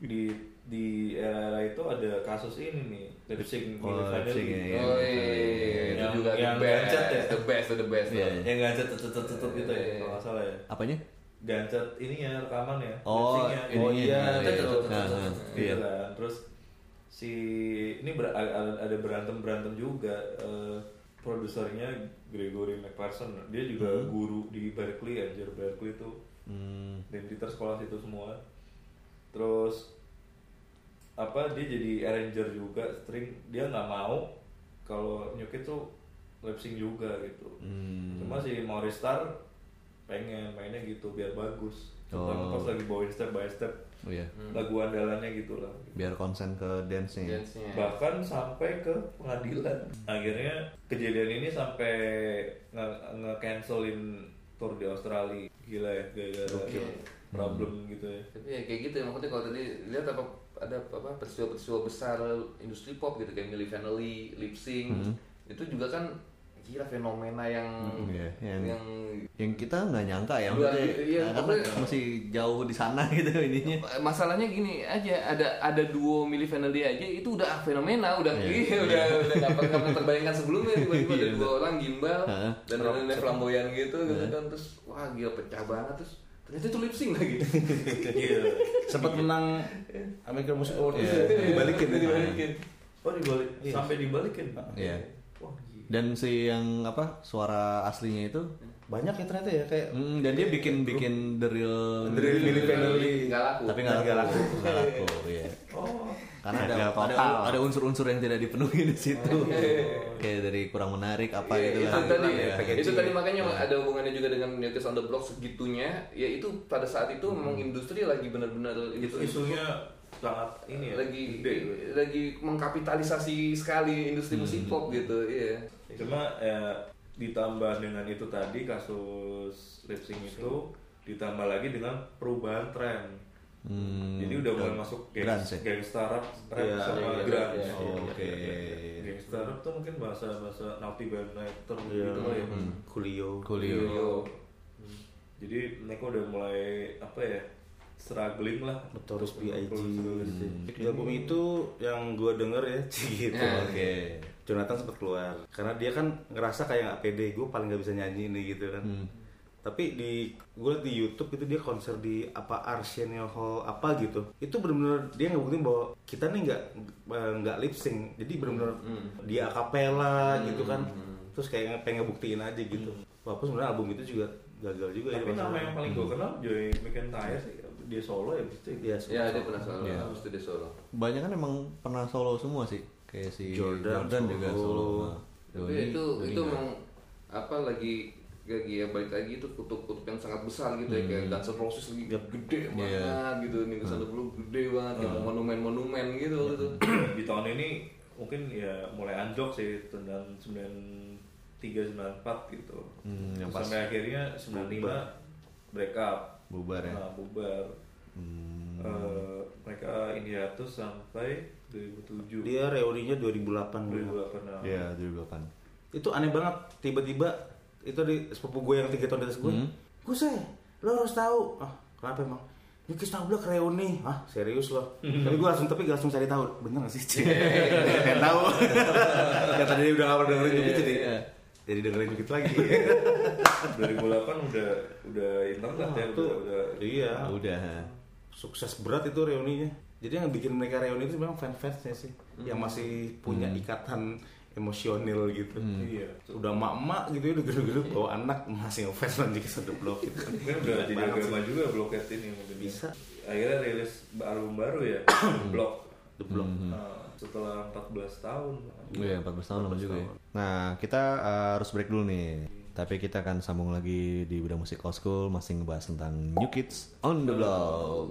Speaker 4: di di era itu ada kasus ini nih, lip sync
Speaker 3: Oh,
Speaker 4: Miley
Speaker 3: lip sync, ya,
Speaker 4: Cyrus.
Speaker 3: ya.
Speaker 6: Oh iya, itu
Speaker 4: Yang-
Speaker 6: juga the
Speaker 4: yang
Speaker 6: best,
Speaker 4: gancet ya?
Speaker 6: the best, the best.
Speaker 3: Iya,
Speaker 6: tuh.
Speaker 3: iya.
Speaker 4: yang gancet tutut tutut
Speaker 6: Iya,
Speaker 4: gitu ya kalau nggak salah ya
Speaker 3: Apanya?
Speaker 4: gancet ininya rekamannya
Speaker 3: Oh,
Speaker 4: lip-syncnya.
Speaker 3: ininya.
Speaker 4: oh iya
Speaker 3: Iya, iya.
Speaker 4: tutut, tutut,
Speaker 3: Nah,
Speaker 4: tutut,
Speaker 3: nah,
Speaker 4: tutut,
Speaker 3: iya.
Speaker 4: gitu kan. terus si ini ber- ada ada berantem berantem juga eh, produsernya Gregory McPherson dia juga guru di Berkeley anjir Berkeley itu
Speaker 3: Hmm,
Speaker 4: Dendriter sekolah situ semua terus apa dia jadi arranger juga string dia nggak mau kalau New Kid tuh lip sync juga gitu
Speaker 3: Hmm.
Speaker 4: cuma si Maurice Star pengen mainnya gitu biar bagus terutama
Speaker 3: Oh.
Speaker 4: pas lagi bawain step by step
Speaker 3: oh iya.
Speaker 6: Hmm.
Speaker 4: lagu andalannya gitu lah
Speaker 3: Biar konsen ke dance-nya.
Speaker 6: Dance-nya.
Speaker 4: bahkan sampai ke pengadilan akhirnya kejadian ini sampai nge- nge-cancelin tour di Australia gila ya gara-gara problem
Speaker 3: Hmm.
Speaker 4: gitu ya
Speaker 6: Tapi ya kayak gitu ya maksudnya kalau tadi lihat apa ada apa peristiwa-peristiwa besar industri pop gitu kayak Milli Vanilli, Lip Sync
Speaker 3: Hmm.
Speaker 6: itu juga kan gila fenomena yang
Speaker 3: iya,
Speaker 6: yang,
Speaker 3: yang- Yang kita nggak nyangka ya,
Speaker 6: Iya,
Speaker 3: maksudnya,
Speaker 6: iya,
Speaker 3: nah, kan
Speaker 6: pokoknya-
Speaker 3: masih jauh di sana gitu ininya.
Speaker 6: Eh, masalahnya gini aja ada ada duo Milli Vanilli aja itu udah fenomena udah iya, udah udah nggak pernah nggak pernah terbayangkan sebelumnya tiba-tiba ada dua orang gimbal
Speaker 3: Heeh.
Speaker 6: dan nenek flamboyan gitu gitu kan terus wah gila pecah banget terus ternyata itu lip sync lagi
Speaker 4: Iya.
Speaker 5: Sempat menang American Music Award.
Speaker 3: Iya,
Speaker 6: Iya. dibalikin Oh, dibalikin
Speaker 4: Oh dibalik, sampai dibalikin.
Speaker 3: Iya.
Speaker 4: Wah gila.
Speaker 3: Dan si yang apa suara aslinya itu,
Speaker 5: Banyak ya ternyata ya kayak
Speaker 3: hmm, dan dia bikin bikin the real,
Speaker 5: The Real Milli Vanilli.
Speaker 6: nggak laku
Speaker 3: tapi nggak
Speaker 5: Nggak
Speaker 3: laku, nggak laku, iya.
Speaker 4: Oh.
Speaker 3: Karena ada
Speaker 5: Gagal
Speaker 3: ada,
Speaker 5: total.
Speaker 3: ada unsur-unsur yang tidak dipenuhi di situ, kayak dari kurang menarik apa
Speaker 6: Iya,
Speaker 3: gitu
Speaker 6: itu
Speaker 3: lah.
Speaker 6: tadi ya.
Speaker 3: Iya.
Speaker 6: itu tadi makanya ada hubungannya juga dengan Newcastle on the Block segitunya ya itu pada saat itu memang industri lagi benar-benar
Speaker 4: Itu
Speaker 6: industri
Speaker 4: isunya sangat ini ya.
Speaker 6: lagi
Speaker 4: gede.
Speaker 6: lagi mengkapitalisasi sekali industri musik pop gitu iya
Speaker 4: Cuma ya, ditambah dengan itu tadi kasus lip sync itu ditambah lagi dengan perubahan tren.
Speaker 3: Hmm,
Speaker 4: Jadi udah mulai
Speaker 3: dan
Speaker 4: masuk
Speaker 3: grunge
Speaker 4: gangster
Speaker 3: ya?
Speaker 4: gangsta rap, rap
Speaker 5: Iya,
Speaker 4: sama
Speaker 6: iya,
Speaker 4: grunge.
Speaker 6: iya,
Speaker 3: Oh, Oke.
Speaker 4: Gangsta rap tuh mungkin bahasa bahasa naughty by nighter
Speaker 5: Iya.
Speaker 4: gitu lah ya.
Speaker 3: Hmm.
Speaker 5: Kulio.
Speaker 3: Coolio.
Speaker 4: Jadi mereka udah mulai apa ya struggling lah.
Speaker 5: Notorious B.I.G.
Speaker 4: Hmm.
Speaker 5: Gitu. Di album itu yang gue denger ya Cik, gitu.
Speaker 6: Nah,
Speaker 5: Oke. Jonathan sempat keluar karena dia kan ngerasa kayak nggak pede gue paling nggak bisa nyanyi nih gitu kan. Tapi di gue liat di YouTube itu dia konser di apa Arsenio Hall apa gitu. Itu benar-benar dia ngebuktiin bahwa kita nih nggak eh, nggak lip sync. Jadi benar-benar dia akapela gitu kan. Terus kayak pengen ngebuktiin aja gitu. Walaupun sebenarnya album itu juga gagal juga
Speaker 4: Tapi
Speaker 6: iya,
Speaker 5: ya.
Speaker 4: nama
Speaker 5: maksudnya.
Speaker 4: yang paling gue kenal Joey McIntyre sih. dia solo ya gitu
Speaker 5: Iya,
Speaker 6: Ya dia pernah solo,
Speaker 3: Iya.
Speaker 6: habis itu dia solo.
Speaker 3: banyak kan emang pernah solo semua sih kayak si
Speaker 5: Jordan
Speaker 3: Jordan, juga
Speaker 5: solo.
Speaker 3: solo
Speaker 6: Tapi itu itu emang apa lagi lagi ya balik lagi itu kutub-kutub yang sangat besar gitu ya kayak Guns N' Roses lagi gede banget gitu nih kesana dulu gede banget gitu monumen-monumen gitu waktu itu.
Speaker 4: di tahun ini mungkin ya mulai anjlok sih tentang 93 94 gitu
Speaker 3: Hmm, yang pas
Speaker 4: sampai akhirnya 95 break up
Speaker 3: bubar ya
Speaker 6: Oh.
Speaker 4: Nah, bubar
Speaker 3: Hmm.
Speaker 4: Eh, mereka Indiatus sampai 2007
Speaker 5: Dia reuninya 2008 gitu.
Speaker 4: 2008 nah.
Speaker 3: Iya, juga kan.
Speaker 5: Itu aneh banget tiba-tiba itu di sepupu gue yang tiga tahun di atas gue.
Speaker 4: Hmm.
Speaker 5: Gue saya, lo harus tahu. Ah, kenapa emang? Yuki Stablak reuni, ah serius loh.
Speaker 4: Hmm.
Speaker 5: tapi gue langsung tapi gak langsung cari tahu, bener gak sih?
Speaker 4: Iya,
Speaker 5: Gak tahu. Kata dia udah awal dengerin
Speaker 3: Iya,
Speaker 5: gitu Yuki jadi, jadi dengerin Yuki lagi.
Speaker 4: eh, 2008 udah udah internet ya
Speaker 5: Itu,
Speaker 4: udah, udah
Speaker 5: iya,
Speaker 3: Udah. ha.
Speaker 5: sukses berat itu reuninya jadi yang bikin mereka reuni itu memang fan fansnya sih
Speaker 4: Hmm.
Speaker 5: yang masih punya ikatan emosional gitu
Speaker 4: Iya.
Speaker 5: udah mak mak gitu ya udah gede-gede bawa anak masih ngefans lagi ke satu blok gitu
Speaker 4: mungkin udah jadi
Speaker 5: Banget
Speaker 4: agama juga bloket ini mungkin
Speaker 5: Bisa.
Speaker 4: akhirnya rilis album baru ya blok
Speaker 3: Hmm.
Speaker 5: the blok
Speaker 3: Mhm.
Speaker 4: Nah, setelah 14 tahun
Speaker 3: Iya, 14 tahun lama juga ya. Nah, kita eh, harus break dulu nih. Tapi kita akan sambung lagi di Bidang Musik Old School masih ngebahas tentang New Kids on the Block.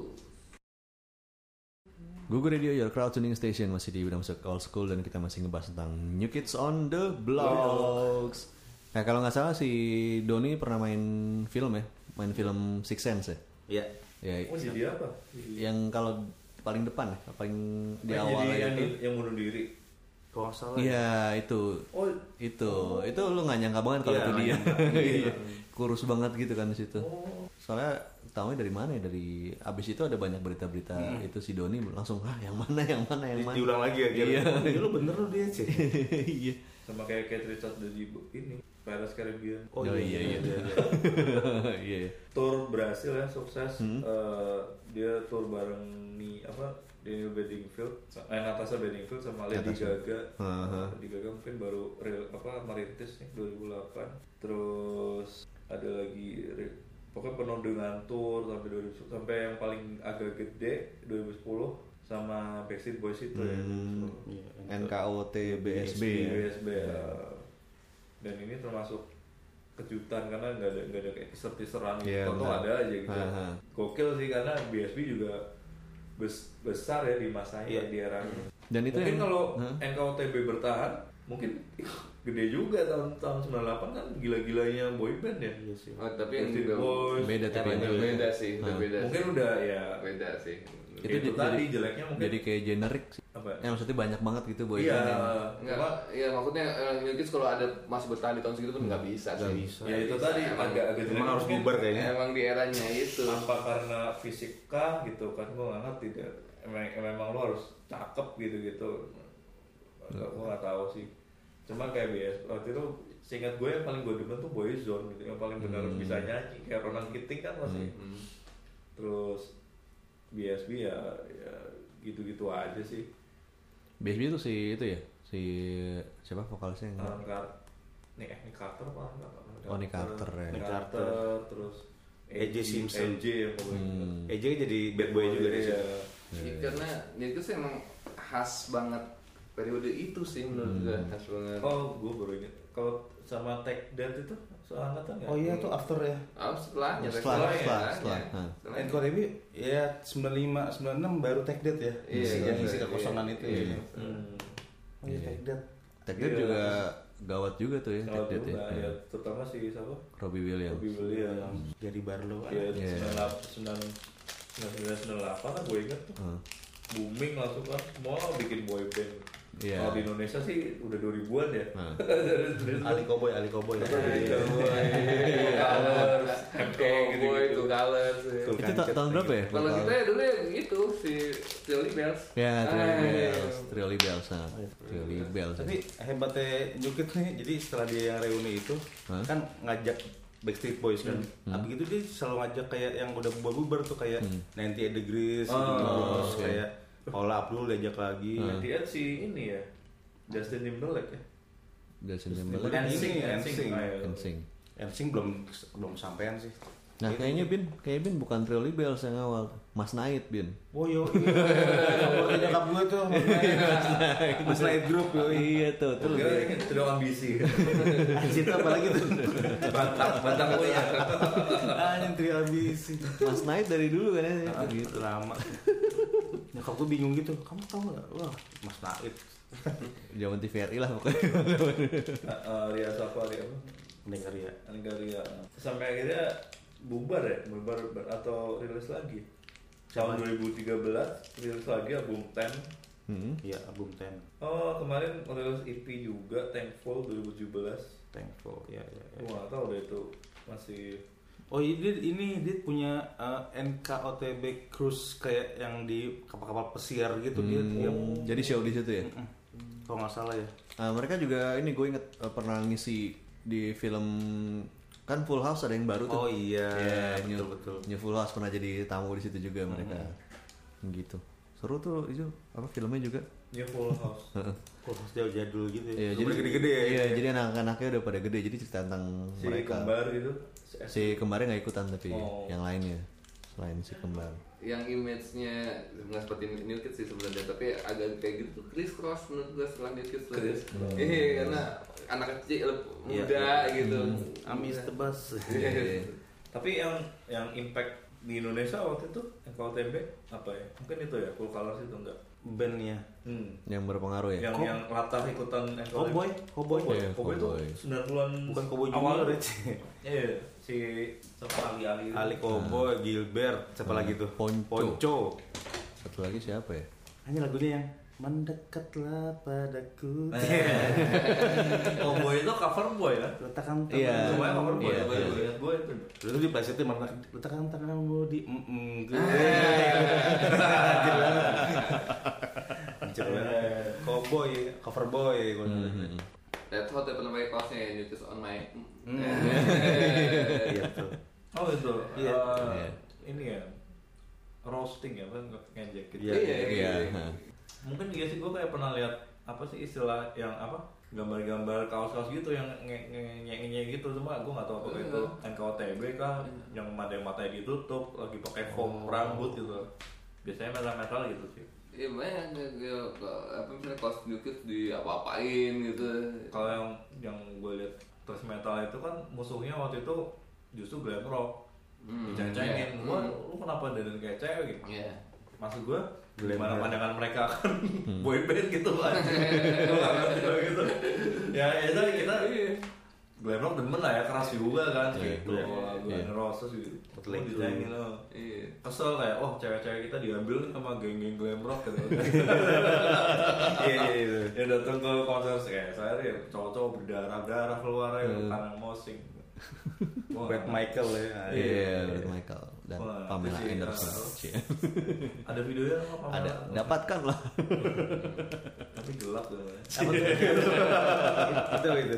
Speaker 3: Google Radio, your crowd tuning station masih di Bidang Musik Old School dan kita masih ngebahas tentang New Kids on the Blocks. Nah, kalau nggak salah si Doni pernah main film ya, main film Six Sense ya.
Speaker 5: ya
Speaker 3: Ya,
Speaker 4: oh jadi apa Jadi-
Speaker 3: yang kalau paling depan ya, paling di
Speaker 4: Ah,
Speaker 3: awal
Speaker 4: jadi
Speaker 3: ya
Speaker 4: yang,
Speaker 3: itu.
Speaker 4: yang bunuh diri
Speaker 5: kalau nggak salah
Speaker 3: Iya, itu.
Speaker 4: oh
Speaker 3: Itu. Itu lu nggak nyangka banget kalau
Speaker 5: Iya,
Speaker 3: itu
Speaker 5: nggak
Speaker 3: dia.
Speaker 5: nyangka.
Speaker 3: Iya. Kurus banget gitu kan di situ. Soalnya tahunya dari mana ya? Dari abis itu ada banyak berita-berita itu si Doni langsung ah yang mana yang mana yang
Speaker 5: Di-
Speaker 3: mana.
Speaker 5: diulang lagi ya
Speaker 3: Iya.
Speaker 5: iya lu bener lu dia sih
Speaker 3: Iya.
Speaker 4: sama kayak Kate Richards dari bu- ini Pirates Caribbean
Speaker 3: Oh, iya, iya. Iya.
Speaker 4: tour berhasil ya sukses
Speaker 3: Hmm.
Speaker 4: Eh, dia tour bareng nih apa Daniel Bedingfield eh Natasha Bedingfield sama Lady Gaga
Speaker 3: Uh-huh.
Speaker 4: Lady Gaga mungkin baru real, apa merintis nih 2008 terus ada lagi re- pokoknya penuh dengan tour sampai 2010 sampai yang paling agak gede 2010 sama Backstreet Boys itu ya
Speaker 3: Hmm.
Speaker 4: 2010.
Speaker 5: Iya.
Speaker 3: NKOT BSB.
Speaker 4: USB Iya, dan ini termasuk kejutan karena nggak ada nggak ada kayak teaser teaseran
Speaker 3: Iya,
Speaker 4: Toto
Speaker 3: benar.
Speaker 4: ada aja gitu
Speaker 3: Aha.
Speaker 4: gokil sih karena BSB juga bes- besar ya di masanya
Speaker 5: Iya.
Speaker 4: di era ini.
Speaker 3: Dan itu
Speaker 4: mungkin
Speaker 3: yang-
Speaker 4: kalau
Speaker 3: Hah?
Speaker 4: NKOTB bertahan mungkin gede juga tahun tahun 98 kan gila-gilanya boyband ya
Speaker 6: Oh, tapi yang
Speaker 4: Backstreet
Speaker 6: juga
Speaker 4: Boys.
Speaker 3: Beda oh, tapi
Speaker 6: Emang
Speaker 3: yang
Speaker 6: udah
Speaker 3: dulu.
Speaker 6: beda sih, udah beda
Speaker 4: mungkin
Speaker 6: sih.
Speaker 4: udah ya
Speaker 6: beda sih.
Speaker 4: itu,
Speaker 3: jadi-
Speaker 4: tadi
Speaker 3: jadi-
Speaker 4: jeleknya mungkin
Speaker 3: Jadi kayak generik. sih.
Speaker 4: apa
Speaker 3: Ya maksudnya banyak banget gitu boy.
Speaker 4: iya
Speaker 6: Enggak,
Speaker 4: cuma
Speaker 6: ya maksudnya eh, New Kids kalau ada masih bertahan di tahun segitu pun nggak bisa sih.
Speaker 5: bisa.
Speaker 4: ya itu tadi
Speaker 6: Emang-
Speaker 4: agak agak jelek
Speaker 5: emang harus
Speaker 4: mungkin.
Speaker 5: bubar kayaknya
Speaker 6: Emang di eranya itu.
Speaker 4: apa karena fisika gitu kan gue nggak ngerti deh emang, memang lo harus cakep gitu gitu
Speaker 3: Iya.
Speaker 4: gue nggak tahu sih cuma kayak biasa waktu itu seingat gue yang paling gue demen tuh boyzone gitu yang paling benar
Speaker 3: Hmm.
Speaker 4: bisa nyanyi kayak Ronan Keating kan masih
Speaker 5: Hmm.
Speaker 4: terus BSB ya, ya gitu-gitu aja sih
Speaker 3: BSB itu si itu ya. Si siapa vokalisnya yang
Speaker 4: Alan Carter nih eh, Nick Carter apa nggak
Speaker 3: Hmm. Oh, Nick Carter, ya.
Speaker 4: Nick
Speaker 5: Nick
Speaker 4: Carter,
Speaker 5: Carter.
Speaker 4: terus
Speaker 5: AJ Simpson.
Speaker 4: AJ yang gue
Speaker 3: Hmm.
Speaker 4: ingat.
Speaker 5: Eja jadi bad boy juga deh
Speaker 4: Iya.
Speaker 6: Ya, karena New Kids emang khas banget periode itu sih menurut gue khas banget.
Speaker 4: Oh, gue baru inget. Kalau sama Tech Dad itu seangkatan nggak?
Speaker 5: oh iya tuh after ya
Speaker 6: Oh, setelahnya,
Speaker 3: Setelah,
Speaker 6: setelahnya,
Speaker 3: setelah,
Speaker 6: setelahnya.
Speaker 3: setelah.
Speaker 6: Setelahnya.
Speaker 5: NKOTB ya 95 96 baru take date ya
Speaker 6: Iya,
Speaker 5: Isi-
Speaker 6: iya,
Speaker 5: yang isi
Speaker 6: iya.
Speaker 5: kekosongan itu ya
Speaker 3: Iya.
Speaker 4: Hmm.
Speaker 5: oh iya take date
Speaker 3: Tech Dead
Speaker 4: Iya.
Speaker 3: juga gawat juga tuh ya,
Speaker 4: Kalau
Speaker 3: Tech Dead
Speaker 4: dulu
Speaker 3: ya.
Speaker 4: nggak
Speaker 3: Iya.
Speaker 4: ya, terutama si siapa?
Speaker 3: Robbie Williams. Hmm.
Speaker 4: Robbie Williams.
Speaker 5: jadi Barlow
Speaker 4: Ya,
Speaker 5: anak.
Speaker 3: Iya.
Speaker 4: sembilan sembilan sembilan sembilan delapan kan gue inget tuh.
Speaker 3: Hmm.
Speaker 4: Booming langsung kan, semua bikin boy band.
Speaker 3: Iya.
Speaker 4: Kalau di Indonesia sih udah 2000-an ya.
Speaker 3: Nah.
Speaker 5: Ali Koboy Ali Koboy gitu.
Speaker 4: Iya.
Speaker 6: iya. Cowboy, Two Colors, ya.
Speaker 5: Tuh,
Speaker 3: Itu ta-
Speaker 5: kancet
Speaker 3: tahun berapa ya?
Speaker 6: Kalau kita ya dulu ya gitu si Trilly Bells.
Speaker 3: Ya, Trilly
Speaker 6: Ah, iya.
Speaker 3: Bells, Trilly Bells, nah. Trilly Bells.
Speaker 5: Tapi hebatnya Jukit nih, jadi setelah dia yang reuni itu
Speaker 3: Hah? Hmm.
Speaker 5: kan ngajak Backstreet Boys kan. Abis itu dia selalu ngajak kayak yang udah bubar-bubar tuh kayak
Speaker 3: Hmm.
Speaker 5: 98 Degrees gitu. terus kayak Paula Abdul diajak lagi.
Speaker 3: Hmm.
Speaker 4: Dia si ini ya, Justin Timberlake ya.
Speaker 3: Justin
Speaker 5: Justin
Speaker 3: Timberlake,
Speaker 5: Timberlake.
Speaker 4: NSYNC,
Speaker 5: NSYNC.
Speaker 4: NSYNC.
Speaker 3: NSYNC.
Speaker 5: Ensing belum belum sampean sih.
Speaker 3: Nah
Speaker 5: iya.
Speaker 3: kayaknya Bin, kayaknya Bin bukan Trilly Bells yang awal, Mas Naid Bin.
Speaker 5: Oh yo, favoritnya kap gue tuh Mas Naid. Mas Naid Group yo.
Speaker 3: iya tuh, tuh
Speaker 4: Gue
Speaker 3: lebih-
Speaker 4: ini terlalu ambisi.
Speaker 5: Anjir apa lagi tuh?
Speaker 4: Batang, batang gue ya.
Speaker 5: Anjir tri habis.
Speaker 3: Mas Naid dari dulu kan ya.
Speaker 5: Gitu lama. Nyokap gue bingung gitu, kamu tahu nggak? Wah, Mas Naid.
Speaker 3: Jaman TVRI lah pokoknya.
Speaker 4: Eh, Ria Safa, Ria apa?
Speaker 5: Dengar ya.
Speaker 4: Angga Ria. Sampai akhirnya bubar ya, bubar ber- atau rilis lagi. Tahun 2013 rilis lagi album 10
Speaker 3: Hmm.
Speaker 5: Iya, album Ten.
Speaker 4: Oh kemarin rilis EP juga Thankful 2017
Speaker 5: Thankful. Ya, ya, ya.
Speaker 4: Gue gak tau deh itu masih
Speaker 5: Oh ini dia, ini dia punya uh, NKOTB cruise kayak yang di kapal-kapal pesiar gitu dia
Speaker 3: Hmm.
Speaker 5: tiap
Speaker 3: Jadi show di situ ya.
Speaker 5: Mm, kalau nggak salah ya.
Speaker 3: Ah, mereka juga ini gue inget eh, pernah ngisi di film kan Full House ada yang baru tuh.
Speaker 5: Oh iya,
Speaker 3: Iya,
Speaker 5: betul
Speaker 3: New-
Speaker 5: betul.
Speaker 3: New Full House pernah jadi tamu di situ juga mereka.
Speaker 4: Hmm.
Speaker 3: Gitu. Seru tuh itu apa filmnya juga.
Speaker 4: New Full House
Speaker 5: Kok Oh, jauh jadul gitu.
Speaker 3: Iya,
Speaker 5: Udah gede-gede ya.
Speaker 3: Iya, jadi anak-anaknya udah pada gede jadi cerita tentang
Speaker 4: Si
Speaker 3: mereka.
Speaker 4: kembar gitu Si S-
Speaker 3: Si kembarnya nggak ikutan tapi
Speaker 4: Oh.
Speaker 3: yang lainnya selain si kembar.
Speaker 6: yang image-nya nggak seperti New Kids sih sebenarnya tapi agak kayak gitu Chris Cross menurut gue setelah New Kids lah.
Speaker 4: Chris Cross.
Speaker 6: Iya, karena anak kecil
Speaker 5: Iya, Hmm.
Speaker 6: muda gitu
Speaker 5: Amis tebas.
Speaker 6: Iya.
Speaker 4: Tapi yang yang impact di Indonesia waktu itu yang kalau tempe apa ya? Mungkin itu ya, full colors itu enggak.
Speaker 5: Bandnya.
Speaker 4: Hmm.
Speaker 3: Yang berpengaruh ya.
Speaker 4: Yang
Speaker 5: Ko-
Speaker 4: yang latah ikutan yang kalau
Speaker 5: Cowboy,
Speaker 4: tempe.
Speaker 5: cowboy.
Speaker 3: Oh,
Speaker 4: Cowboy.
Speaker 3: Iya,
Speaker 4: Cowboy itu
Speaker 3: cowboy.
Speaker 4: 90-an
Speaker 5: Oh, Bukan cowboy
Speaker 4: awal.
Speaker 5: junior ya. Ci.
Speaker 4: Iya, si sama Ali Ali.
Speaker 5: Ali Cowboy, Gilbert,
Speaker 3: Hmm.
Speaker 5: siapa lagi tuh?
Speaker 3: Ponco.
Speaker 5: Ponco.
Speaker 3: Satu lagi siapa ya?
Speaker 5: Hanya lagunya yang mendekatlah padaku.
Speaker 3: Eh.
Speaker 4: Cowboy itu cover boy kan?
Speaker 5: Letakkan tangan.
Speaker 3: Iya.
Speaker 4: Semuanya cover boy.
Speaker 3: Iya,
Speaker 4: Coba
Speaker 3: iya.
Speaker 4: lihat Gue itu.
Speaker 5: Terus di plastik tuh mana letakkan tanganmu di mm mm gue.
Speaker 3: Ah, iya,
Speaker 5: Anjir banget. Cowboy, iya? cover boy gue.
Speaker 4: Hmm.
Speaker 3: Hmm,
Speaker 6: Red Hot ya pernah pakai kaosnya ya New Kids on my
Speaker 5: Iya tuh.
Speaker 4: Oh itu.
Speaker 5: Iya.
Speaker 4: eh,
Speaker 3: Iya.
Speaker 4: Ini ya. Roasting ya, kan ngejek gitu.
Speaker 5: Iya.
Speaker 3: Iya. ha.
Speaker 4: mungkin iya sih gue kayak pernah lihat apa sih istilah yang apa gambar-gambar kaos-kaos gitu yang nge- nge- nge- nge- gitu cuma gue nggak tahu apa itu NKOTB kah yang mata matanya ditutup lagi pakai
Speaker 5: Oh.
Speaker 4: foam rambut gitu biasanya metal-metal gitu sih
Speaker 6: Iya banyak ya, ya, apa misalnya kaos New Kids di apa-apain gitu
Speaker 4: kalau yang yang gue lihat terus metal itu kan musuhnya waktu itu justru glam rock
Speaker 6: Hmm,
Speaker 4: diceng-cengin
Speaker 6: iya.
Speaker 4: Wah, lu kenapa dandan kayak cewek gitu
Speaker 6: Iya
Speaker 4: maksud gue
Speaker 5: Glam
Speaker 4: gimana
Speaker 5: rock.
Speaker 4: pandangan mereka kan boy band gitu aja Gua nggak ngerti kalau gitu ya itu kita glam rock demen lah ya keras juga kan gitu
Speaker 3: iya,
Speaker 4: kalau
Speaker 3: iya.
Speaker 4: Guns N' Roses gitu
Speaker 5: Betul.
Speaker 4: Gua ditanyain loh
Speaker 6: Iya
Speaker 4: kesel kayak oh cewek-cewek kita diambil nih sama geng-geng glam rock gitu
Speaker 5: Iya iya iya.
Speaker 4: ya datang ke konser kayak saya ya cowok-cowok berdarah-darah keluar ya
Speaker 5: Hmm.
Speaker 4: karena mosing Wah,
Speaker 5: Brad Michael ya.
Speaker 3: Iya, Michael dan
Speaker 4: Wah,
Speaker 3: Pamela
Speaker 4: itu sih,
Speaker 3: Anderson.
Speaker 4: uh,
Speaker 3: Cie.
Speaker 4: ada videonya apa
Speaker 3: Ada dapatkan lah.
Speaker 4: tapi gelap gitu, tuh
Speaker 5: Apa tuh? Itu apa itu.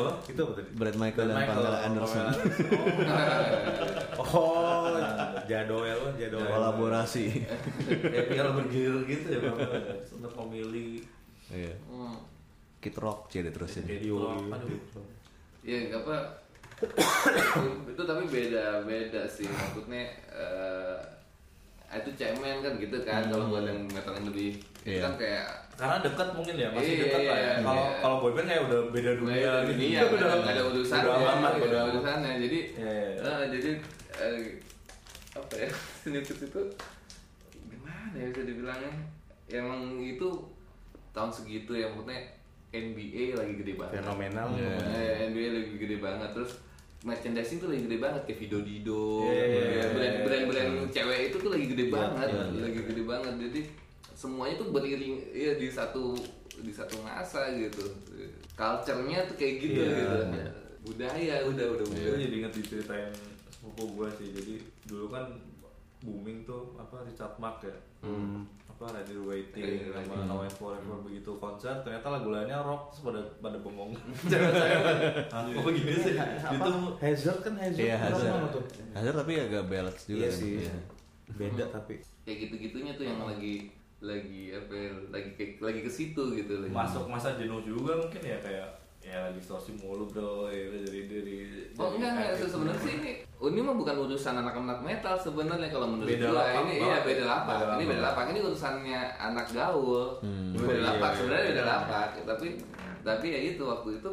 Speaker 4: apa
Speaker 5: Itu apa tadi?
Speaker 3: Brad Michael dan Pamela Anderson.
Speaker 5: Oh, Jadoel kan Jadoel.
Speaker 3: Kolaborasi.
Speaker 4: ya biar bergilir gitu ya Bang. untuk memilih
Speaker 3: Iya.
Speaker 6: Hmm.
Speaker 3: Kid Rock jadi terusin.
Speaker 5: Iya,
Speaker 4: jadi orang aduh
Speaker 6: Iya nggak apa itu tapi beda beda sih maksudnya eh, itu cemen kan gitu kan kalau buat yang metal yang lebih itu
Speaker 3: Iya.
Speaker 6: kan kayak
Speaker 4: karena dekat mungkin ya masih
Speaker 6: Iya,
Speaker 4: dekat lah ya
Speaker 6: iya,
Speaker 4: kalau
Speaker 6: iya.
Speaker 4: kalau boyband kayak udah beda dunia
Speaker 6: dunia
Speaker 4: gitu.
Speaker 6: dunia nggak Iya, ada- nggak ada urusan
Speaker 4: udah amat
Speaker 6: nggak ada
Speaker 4: udah amat
Speaker 6: urusannya jadi
Speaker 4: Iya, iya, iya.
Speaker 6: eh, jadi eh, apa ya sedikit itu gimana ya bisa dibilangnya emang itu tahun segitu ya maksudnya NBA lagi gede banget
Speaker 5: Fenomenal.
Speaker 6: Eh, NBA lagi gede banget terus merchandising tuh lagi gede banget kayak Vido Dido brand brand brand cewek itu tuh lagi gede banget lagi gede banget jadi semuanya tuh beriring ya di satu di satu masa gitu culture-nya tuh kayak gitu gitu budaya udah udah
Speaker 4: gue
Speaker 6: budaya
Speaker 4: jadi inget diceritain sepupu gue sih jadi dulu kan booming tuh apa Richard Mark ya apa Ready Waiting sama No One Forever
Speaker 6: Hmm.
Speaker 4: begitu konser ternyata lagu lainnya rock terus pada pada bengong cewek saya kok gini sih
Speaker 6: Iya,
Speaker 4: itu
Speaker 5: Hazard kan Hazard.
Speaker 3: Iya,
Speaker 5: kenapa
Speaker 3: Hazard.
Speaker 5: nama tuh?
Speaker 3: Hazard tapi agak balance juga.
Speaker 5: Iya
Speaker 3: kan?
Speaker 5: sih.
Speaker 3: Iya.
Speaker 5: Beda tapi.
Speaker 6: kayak gitu gitunya tuh yang lagi lagi apa ya, lagi ke, lagi ke situ gitu lagi
Speaker 4: masuk masa jenuh juga mungkin ya kayak ya ya distorsi mulu bro ya udah dari dari dari
Speaker 6: Oh enggak enggak
Speaker 4: kaget.
Speaker 6: sebenarnya sih ini ini mah bukan urusan anak-anak metal sebenarnya kalau menurut
Speaker 4: Beda
Speaker 6: gua
Speaker 4: lapak
Speaker 6: ini
Speaker 4: banget.
Speaker 6: iya beda lapak.
Speaker 4: Beda
Speaker 6: Ini
Speaker 4: lapak.
Speaker 6: beda lapak ini urusannya anak gaul. Ini Beda
Speaker 4: Iya,
Speaker 6: lapak
Speaker 4: iya,
Speaker 6: sebenarnya
Speaker 4: iya.
Speaker 6: beda lapak tapi tapi ya itu waktu itu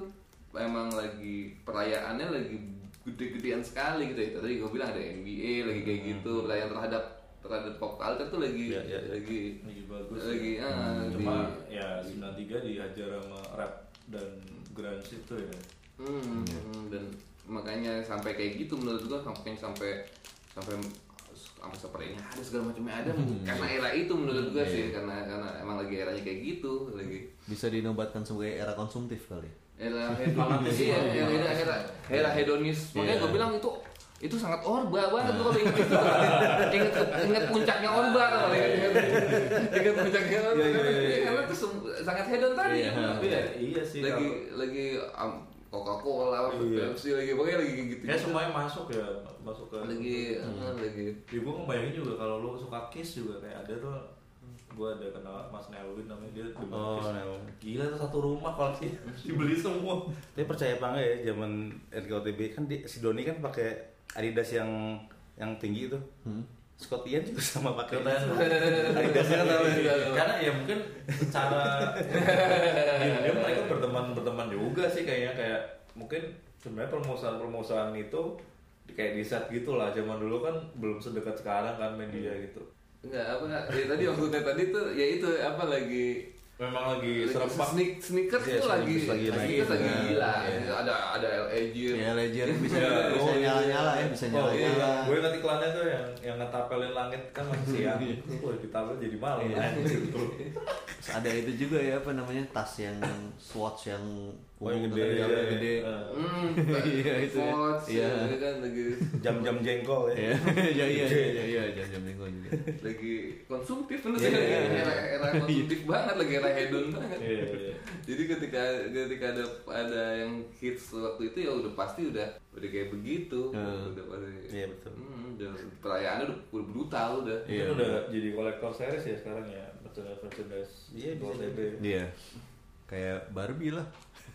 Speaker 6: emang lagi perayaannya lagi gede-gedean sekali gitu ya. Tadi gua bilang ada NBA lagi kayak gitu perayaan terhadap terhadap pop culture tuh lagi
Speaker 5: Iya, iya, iya.
Speaker 6: lagi
Speaker 4: lagi bagus
Speaker 6: lagi
Speaker 4: ya.
Speaker 6: ah,
Speaker 4: cuma
Speaker 6: di-
Speaker 4: ya 93 dihajar sama rap dan grunge itu ya
Speaker 6: Hmm,
Speaker 5: Iya.
Speaker 6: dan makanya sampai kayak gitu menurut gua sampai sampai sampai sampai sepertinya ada segala macamnya ada
Speaker 5: Hmm, iya.
Speaker 6: karena era itu menurut gua sih karena karena emang lagi eranya kayak gitu lagi
Speaker 3: Bisa dinobatkan sebagai era konsumtif kali.
Speaker 6: era hedonis iya era era era, era hedonis makanya
Speaker 3: Iya.
Speaker 6: gua bilang itu itu sangat orba banget gua kalau inget itu inget, inget puncaknya orba kalau inget inget, inget puncaknya orba
Speaker 5: Iya, iya, iya, iya.
Speaker 6: Iya, karena itu sem- sangat hedon tadi
Speaker 3: Iya,
Speaker 4: tapi ya iya sih
Speaker 6: lagi
Speaker 4: kalau-
Speaker 6: lagi um, Coca-Cola,
Speaker 4: Iya.
Speaker 6: Pepsi lagi pokoknya lagi gitu.
Speaker 4: ya semuanya masuk ya masuk ke
Speaker 6: lagi
Speaker 3: Hmm.
Speaker 6: eh, lagi
Speaker 4: Ya gue ngebayangin juga kalau lu suka Kiss juga kayak ada tuh gue ada kenal Mas Nelwin namanya dia tuh
Speaker 5: Oh,
Speaker 4: Kiss.
Speaker 5: Nelwin.
Speaker 4: Gila tuh satu rumah koleksi dibeli semua.
Speaker 5: Tapi percaya apa enggak ya zaman NKOTB kan di, si Doni kan pakai Adidas yang yang tinggi itu.
Speaker 3: Hmm.
Speaker 5: Scott Ian juga sama pakai Adidasnya kan sama.
Speaker 3: Iya.
Speaker 4: Karena ya mungkin cara Iya, dia mereka berteman berteman juga sih kayaknya kayak mungkin sebenarnya permusuhan-permusuhan itu kayak di set gitu lah zaman dulu kan belum sedekat sekarang kan media
Speaker 3: Hmm.
Speaker 4: gitu
Speaker 6: enggak apa enggak ya, tadi waktu tadi tuh ya itu apa lagi
Speaker 4: memang lagi serempak
Speaker 6: sneak sneakers
Speaker 5: Iya,
Speaker 6: tuh lagi
Speaker 5: sneakers lagi naik.
Speaker 6: sneakers lagi
Speaker 3: Iya.
Speaker 5: Nah,
Speaker 6: gila ada ada LAG
Speaker 3: Ya Ledger bisa
Speaker 4: Iya.
Speaker 3: bisa
Speaker 4: Oh, iya.
Speaker 3: nyala-nyala ya, bisa
Speaker 4: Oh iya,
Speaker 3: nyala-nyala.
Speaker 4: gue ingat iklannya tuh yang yang ngetapelin langit kan masih siang. Wah, ditapel jadi malam.
Speaker 3: Hmm. Iya.
Speaker 4: anjing tuh.
Speaker 3: Terus ada itu juga ya apa namanya tas yang swatch yang
Speaker 5: Oh, yang
Speaker 3: ungu tuh tadi,
Speaker 5: gede, iya,
Speaker 3: yang gede.
Speaker 4: Eh,
Speaker 6: hmm
Speaker 3: Iya, itu ya.
Speaker 6: Fox,
Speaker 3: Iya.
Speaker 6: ya kan lagi
Speaker 5: Jam-jam jengkol ya.
Speaker 3: Iya, iya, iya, iya, iya, jam-jam minggu juga.
Speaker 6: lagi konsumtif menurut
Speaker 3: Iya,
Speaker 6: saya
Speaker 3: iya, iya.
Speaker 6: era era konsumtif banget lagi era hedon banget
Speaker 4: Iya, iya.
Speaker 6: jadi ketika ketika ada ada yang hits waktu itu ya udah pasti udah udah kayak begitu udah pasti
Speaker 5: Iya, betul. Iya.
Speaker 6: hmm, udah perayaannya udah, udah brutal udah
Speaker 4: Itu Kan udah jadi kolektor series ya sekarang ya, merchandise merchandise.
Speaker 5: Iya, bisa
Speaker 4: OTB.
Speaker 3: Iya. Kayak Barbie lah.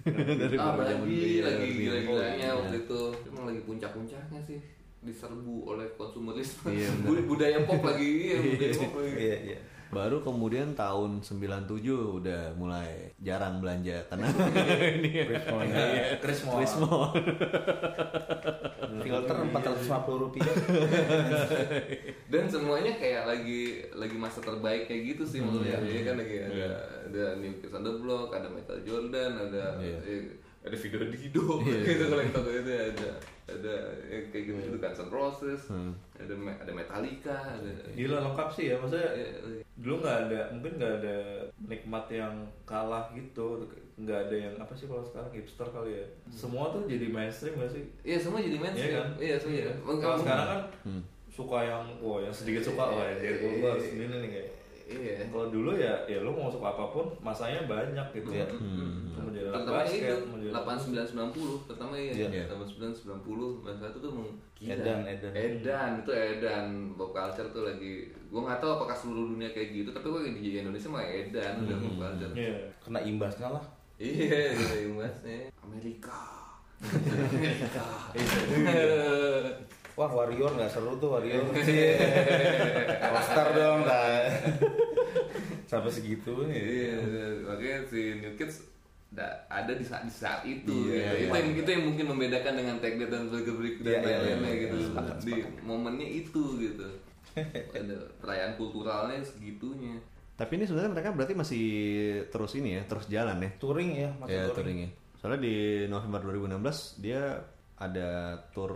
Speaker 6: Ah, lagi,
Speaker 3: Barbie,
Speaker 6: lagi
Speaker 3: Barbie.
Speaker 6: gila-gilanya waktu itu.
Speaker 5: Iya.
Speaker 6: Emang lagi puncak-puncaknya sih diserbu oleh konsumerisme.
Speaker 3: Iya, benar.
Speaker 6: Bud- budaya pop lagi, iya, budaya pop lagi.
Speaker 5: Iya, iya.
Speaker 3: Baru kemudian tahun 97 udah mulai jarang belanja karena
Speaker 6: Iya.
Speaker 3: ini ya.
Speaker 4: Chris Moore.
Speaker 3: Chris Moore.
Speaker 5: Filter
Speaker 6: Iya.
Speaker 5: 450 rupiah.
Speaker 6: Dan semuanya kayak lagi lagi masa terbaik kayak gitu sih menurut
Speaker 4: Hmm.
Speaker 6: saya. Iya kan lagi ada ada New Kids on the Block, ada Metal Jordan, ada
Speaker 4: Iya.
Speaker 6: eh, ada video Dido gitu kolektor itu ada ada eh, kayak gitu gitu Guns N' Roses,
Speaker 4: Hmm.
Speaker 6: ada Me- ada Metallica, ada
Speaker 4: Gila lengkap sih ya, maksudnya
Speaker 6: eh,
Speaker 4: dulu nggak ada, mungkin nggak ada nikmat yang kalah gitu, nggak ada yang apa sih kalau sekarang hipster kali ya. Semua tuh jadi mainstream gak sih?
Speaker 6: Hmm. Iya semua jadi mainstream.
Speaker 4: Iya kan?
Speaker 6: Iya semua jadi. Meng-
Speaker 4: Kalau
Speaker 6: meng-
Speaker 4: sekarang kan
Speaker 3: Hmm.
Speaker 4: suka yang, wah yang sedikit suka, wah ya, gue harus ini nih kayak.
Speaker 6: Iya.
Speaker 4: Kalau dulu ya, ya lu mau suka apapun, masanya banyak gitu ya. Kemudian ada
Speaker 6: Pertama Iya. itu
Speaker 4: basket, kemudian ada-
Speaker 6: 8990 pertama iya
Speaker 3: Iya.
Speaker 6: 8990 masa itu tuh meng- gila.
Speaker 5: Edan, Edan.
Speaker 6: Edan itu Edan pop culture tuh lagi gua nggak tahu apakah seluruh dunia kayak gitu tapi gua di Indonesia mah Edan udah pop
Speaker 5: Hmm.
Speaker 6: culture.
Speaker 4: Iya.
Speaker 5: Kena imbasnya lah.
Speaker 6: Iya, gitu yang bahasnya. Amerika. Amerika.
Speaker 5: Wah, warrior nggak seru tuh warrior.
Speaker 6: Iya.
Speaker 5: Roster dong, nah. Sampai segitu nih.
Speaker 6: Iya, makanya si New Kids da- ada di saat, di saat itu gitu.
Speaker 5: Iya, iya.
Speaker 6: itu yang itu yang mungkin membedakan dengan tag Dead dan Burger Break dan
Speaker 5: Iya, iya,
Speaker 6: lain-lainnya
Speaker 5: iya,
Speaker 6: gitu
Speaker 5: iya, sepakat,
Speaker 6: di momennya itu gitu ada perayaan kulturalnya segitunya
Speaker 3: Tapi ini sebenarnya mereka berarti masih terus ini ya, terus jalan ya.
Speaker 5: Touring ya, masuk
Speaker 6: Iya,
Speaker 3: Ya,
Speaker 5: touring.
Speaker 3: touringnya. Soalnya di November 2016 dia ada tour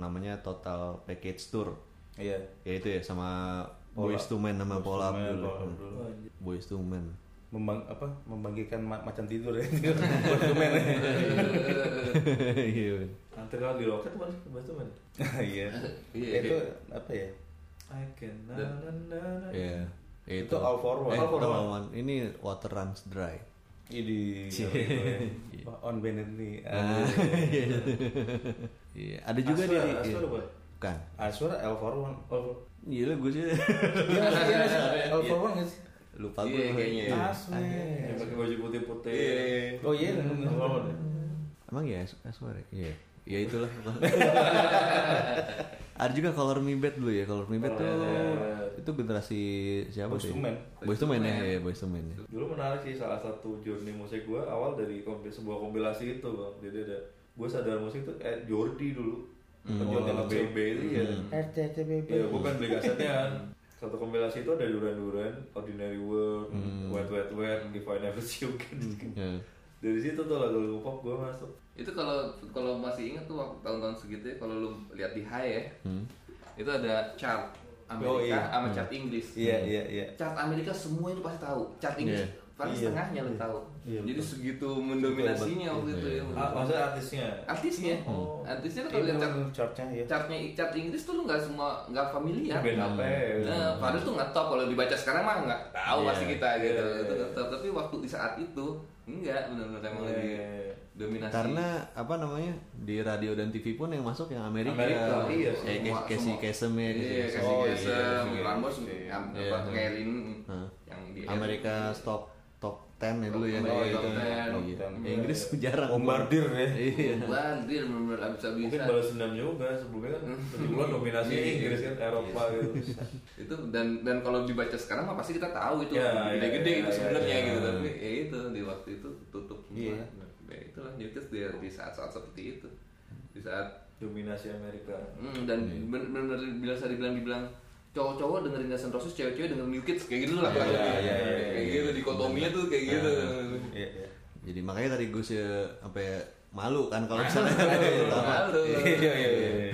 Speaker 3: namanya Total Package Tour.
Speaker 5: Iya.
Speaker 3: Ya itu ya sama Boys to Men sama Pola Abdul.
Speaker 5: Main
Speaker 3: Hmm.
Speaker 5: bola dulu.
Speaker 3: Boys to Men.
Speaker 5: Membang apa? Membangkitkan ma- macan tidur ya. Konsumen.
Speaker 3: Iya. Ben.
Speaker 4: Nanti kalau di loket mana sih? Bahasa mana?
Speaker 5: Iya.
Speaker 6: Iya,
Speaker 5: Itu
Speaker 6: iya.
Speaker 5: apa ya?
Speaker 4: I can na na na na.
Speaker 3: Iya.
Speaker 5: Itu all for one.
Speaker 3: Eh,
Speaker 5: All for
Speaker 3: all one. Ini water runs dry.
Speaker 5: Ini
Speaker 3: Cie.
Speaker 5: on Bennett nih.
Speaker 3: Iya, ada juga
Speaker 4: Aswar,
Speaker 3: dia.
Speaker 5: ya,
Speaker 3: di-
Speaker 4: Aswar
Speaker 3: iya.
Speaker 4: apa?
Speaker 3: Bukan.
Speaker 5: Aswar L for one.
Speaker 4: Oh,
Speaker 3: Gila gue sih
Speaker 5: Iya, masih- iya, masih. L for one nggak sih?
Speaker 3: lupa gue.
Speaker 6: Iya, kayaknya.
Speaker 3: namanya.
Speaker 4: Iya,
Speaker 5: Aswar.
Speaker 4: yang pakai baju putih-putih.
Speaker 5: Oh iya,
Speaker 4: Apa
Speaker 5: bener.
Speaker 4: namanya?
Speaker 3: Emang ya S-War ya? Iya. Ya itulah. Ada juga Color Me Bad dulu ya. Color Me Bad
Speaker 4: Color
Speaker 3: tuh
Speaker 4: Me
Speaker 3: itu generasi siapa
Speaker 5: Boyz
Speaker 3: sih?
Speaker 5: II Men.
Speaker 3: Boyz II Men ya, iya, Boyz II Men. ya.
Speaker 4: Dulu menarik sih salah satu journey musik gue awal dari kompil, sebuah kompilasi itu bang. Jadi ada gue sadar musik tuh kayak Jordi dulu.
Speaker 5: Hmm. Oh,
Speaker 4: Jordi sama BB itu ya.
Speaker 5: RTTBB.
Speaker 4: Ya bukan beli kasetnya kan. Satu kompilasi itu ada duran-duran, Ordinary World,
Speaker 5: Hmm.
Speaker 4: Wet Wet Wet, If I Never See You Again.
Speaker 3: Ya.
Speaker 4: Dari situ tuh lagu-lagu pop gue masuk.
Speaker 6: itu kalau kalau masih ingat tuh waktu tahun-tahun segitu ya, kalau lu lihat di High ya itu ada chart Amerika
Speaker 5: Hmm. Oh, iya.
Speaker 6: sama chart Inggris
Speaker 5: Iya, iya, iya.
Speaker 6: chart Amerika semua itu pasti tahu chart Inggris
Speaker 3: Iya.
Speaker 6: paling
Speaker 5: Iya.
Speaker 6: setengahnya lu tahu jadi segitu mendominasinya waktu itu
Speaker 5: Iya.
Speaker 6: ya
Speaker 5: Hmm.
Speaker 4: Ah, maksudnya artisnya.
Speaker 6: artisnya
Speaker 5: Oh.
Speaker 6: Oh, artisnya tuh kalau lihat chart
Speaker 5: chartnya ya.
Speaker 6: chartnya chart Inggris tuh lu nggak semua nggak familiar
Speaker 4: Band apa ya?
Speaker 6: Nah, padahal tuh nggak top kalau dibaca sekarang mah nggak tahu
Speaker 3: Iya.
Speaker 6: pasti kita gitu.
Speaker 4: Iya,
Speaker 6: Itu
Speaker 4: iya.
Speaker 6: nggak top. Tapi waktu di saat itu enggak benar-benar emang
Speaker 4: Iya,
Speaker 6: lagi
Speaker 4: iya, iya.
Speaker 6: dominasi.
Speaker 3: Karena apa namanya di radio dan TV pun yang masuk yang Amerika.
Speaker 4: Amerika, iya,
Speaker 3: Kayak
Speaker 6: semua-
Speaker 3: Kes- Casey
Speaker 6: semua.
Speaker 3: Kasem ya. Casey
Speaker 6: Iya,
Speaker 3: Kasem.
Speaker 6: kasih
Speaker 5: Oh, iya,
Speaker 6: kesem,
Speaker 5: iya.
Speaker 6: Rambos,
Speaker 5: Iya.
Speaker 6: apa Ngelin yang di
Speaker 3: Iya. Nah, Amerika top top 10 ya dulu ya.
Speaker 6: Oh,
Speaker 3: Iya,
Speaker 6: top
Speaker 3: itu.
Speaker 6: 10.
Speaker 3: Iya.
Speaker 5: Top 10.
Speaker 3: Ya, Inggris jarang.
Speaker 5: Bombardir ya.
Speaker 3: Iya.
Speaker 6: Bandir benar-benar habis-habisan.
Speaker 4: Mungkin balas dendam juga sebelumnya kan kebetulan dominasi
Speaker 6: Hmm. Iya, iya.
Speaker 4: Inggris kan Eropa gitu.
Speaker 6: itu dan dan kalau dibaca sekarang mah pasti kita tahu itu
Speaker 4: Ya, ya,
Speaker 6: gede-gede
Speaker 4: ya,
Speaker 6: itu
Speaker 4: ya,
Speaker 6: sebenarnya
Speaker 4: ya.
Speaker 6: gitu tapi ya itu di waktu itu tutup semua
Speaker 5: Iya.
Speaker 6: ya itulah newtis di di saat-saat seperti itu di saat
Speaker 4: Dominasi Amerika.
Speaker 6: Hmm, dan benar-benar bila saya dibilang dibilang cowok-cowok dengerin Guns N' Roses, cewek-cewek dengerin New Kids kayak gitu lah.
Speaker 3: Iya,
Speaker 6: kurang
Speaker 3: iya,
Speaker 6: lebih.
Speaker 3: iya,
Speaker 5: iya,
Speaker 6: Kayak
Speaker 5: iya.
Speaker 6: gitu dikotominya tuh kayak gitu.
Speaker 5: Iya, iya.
Speaker 3: Jadi makanya tadi Gus ya sampai malu kan kalau misalnya gitu. Apa?
Speaker 6: Malu.
Speaker 5: Iya, iya, iya.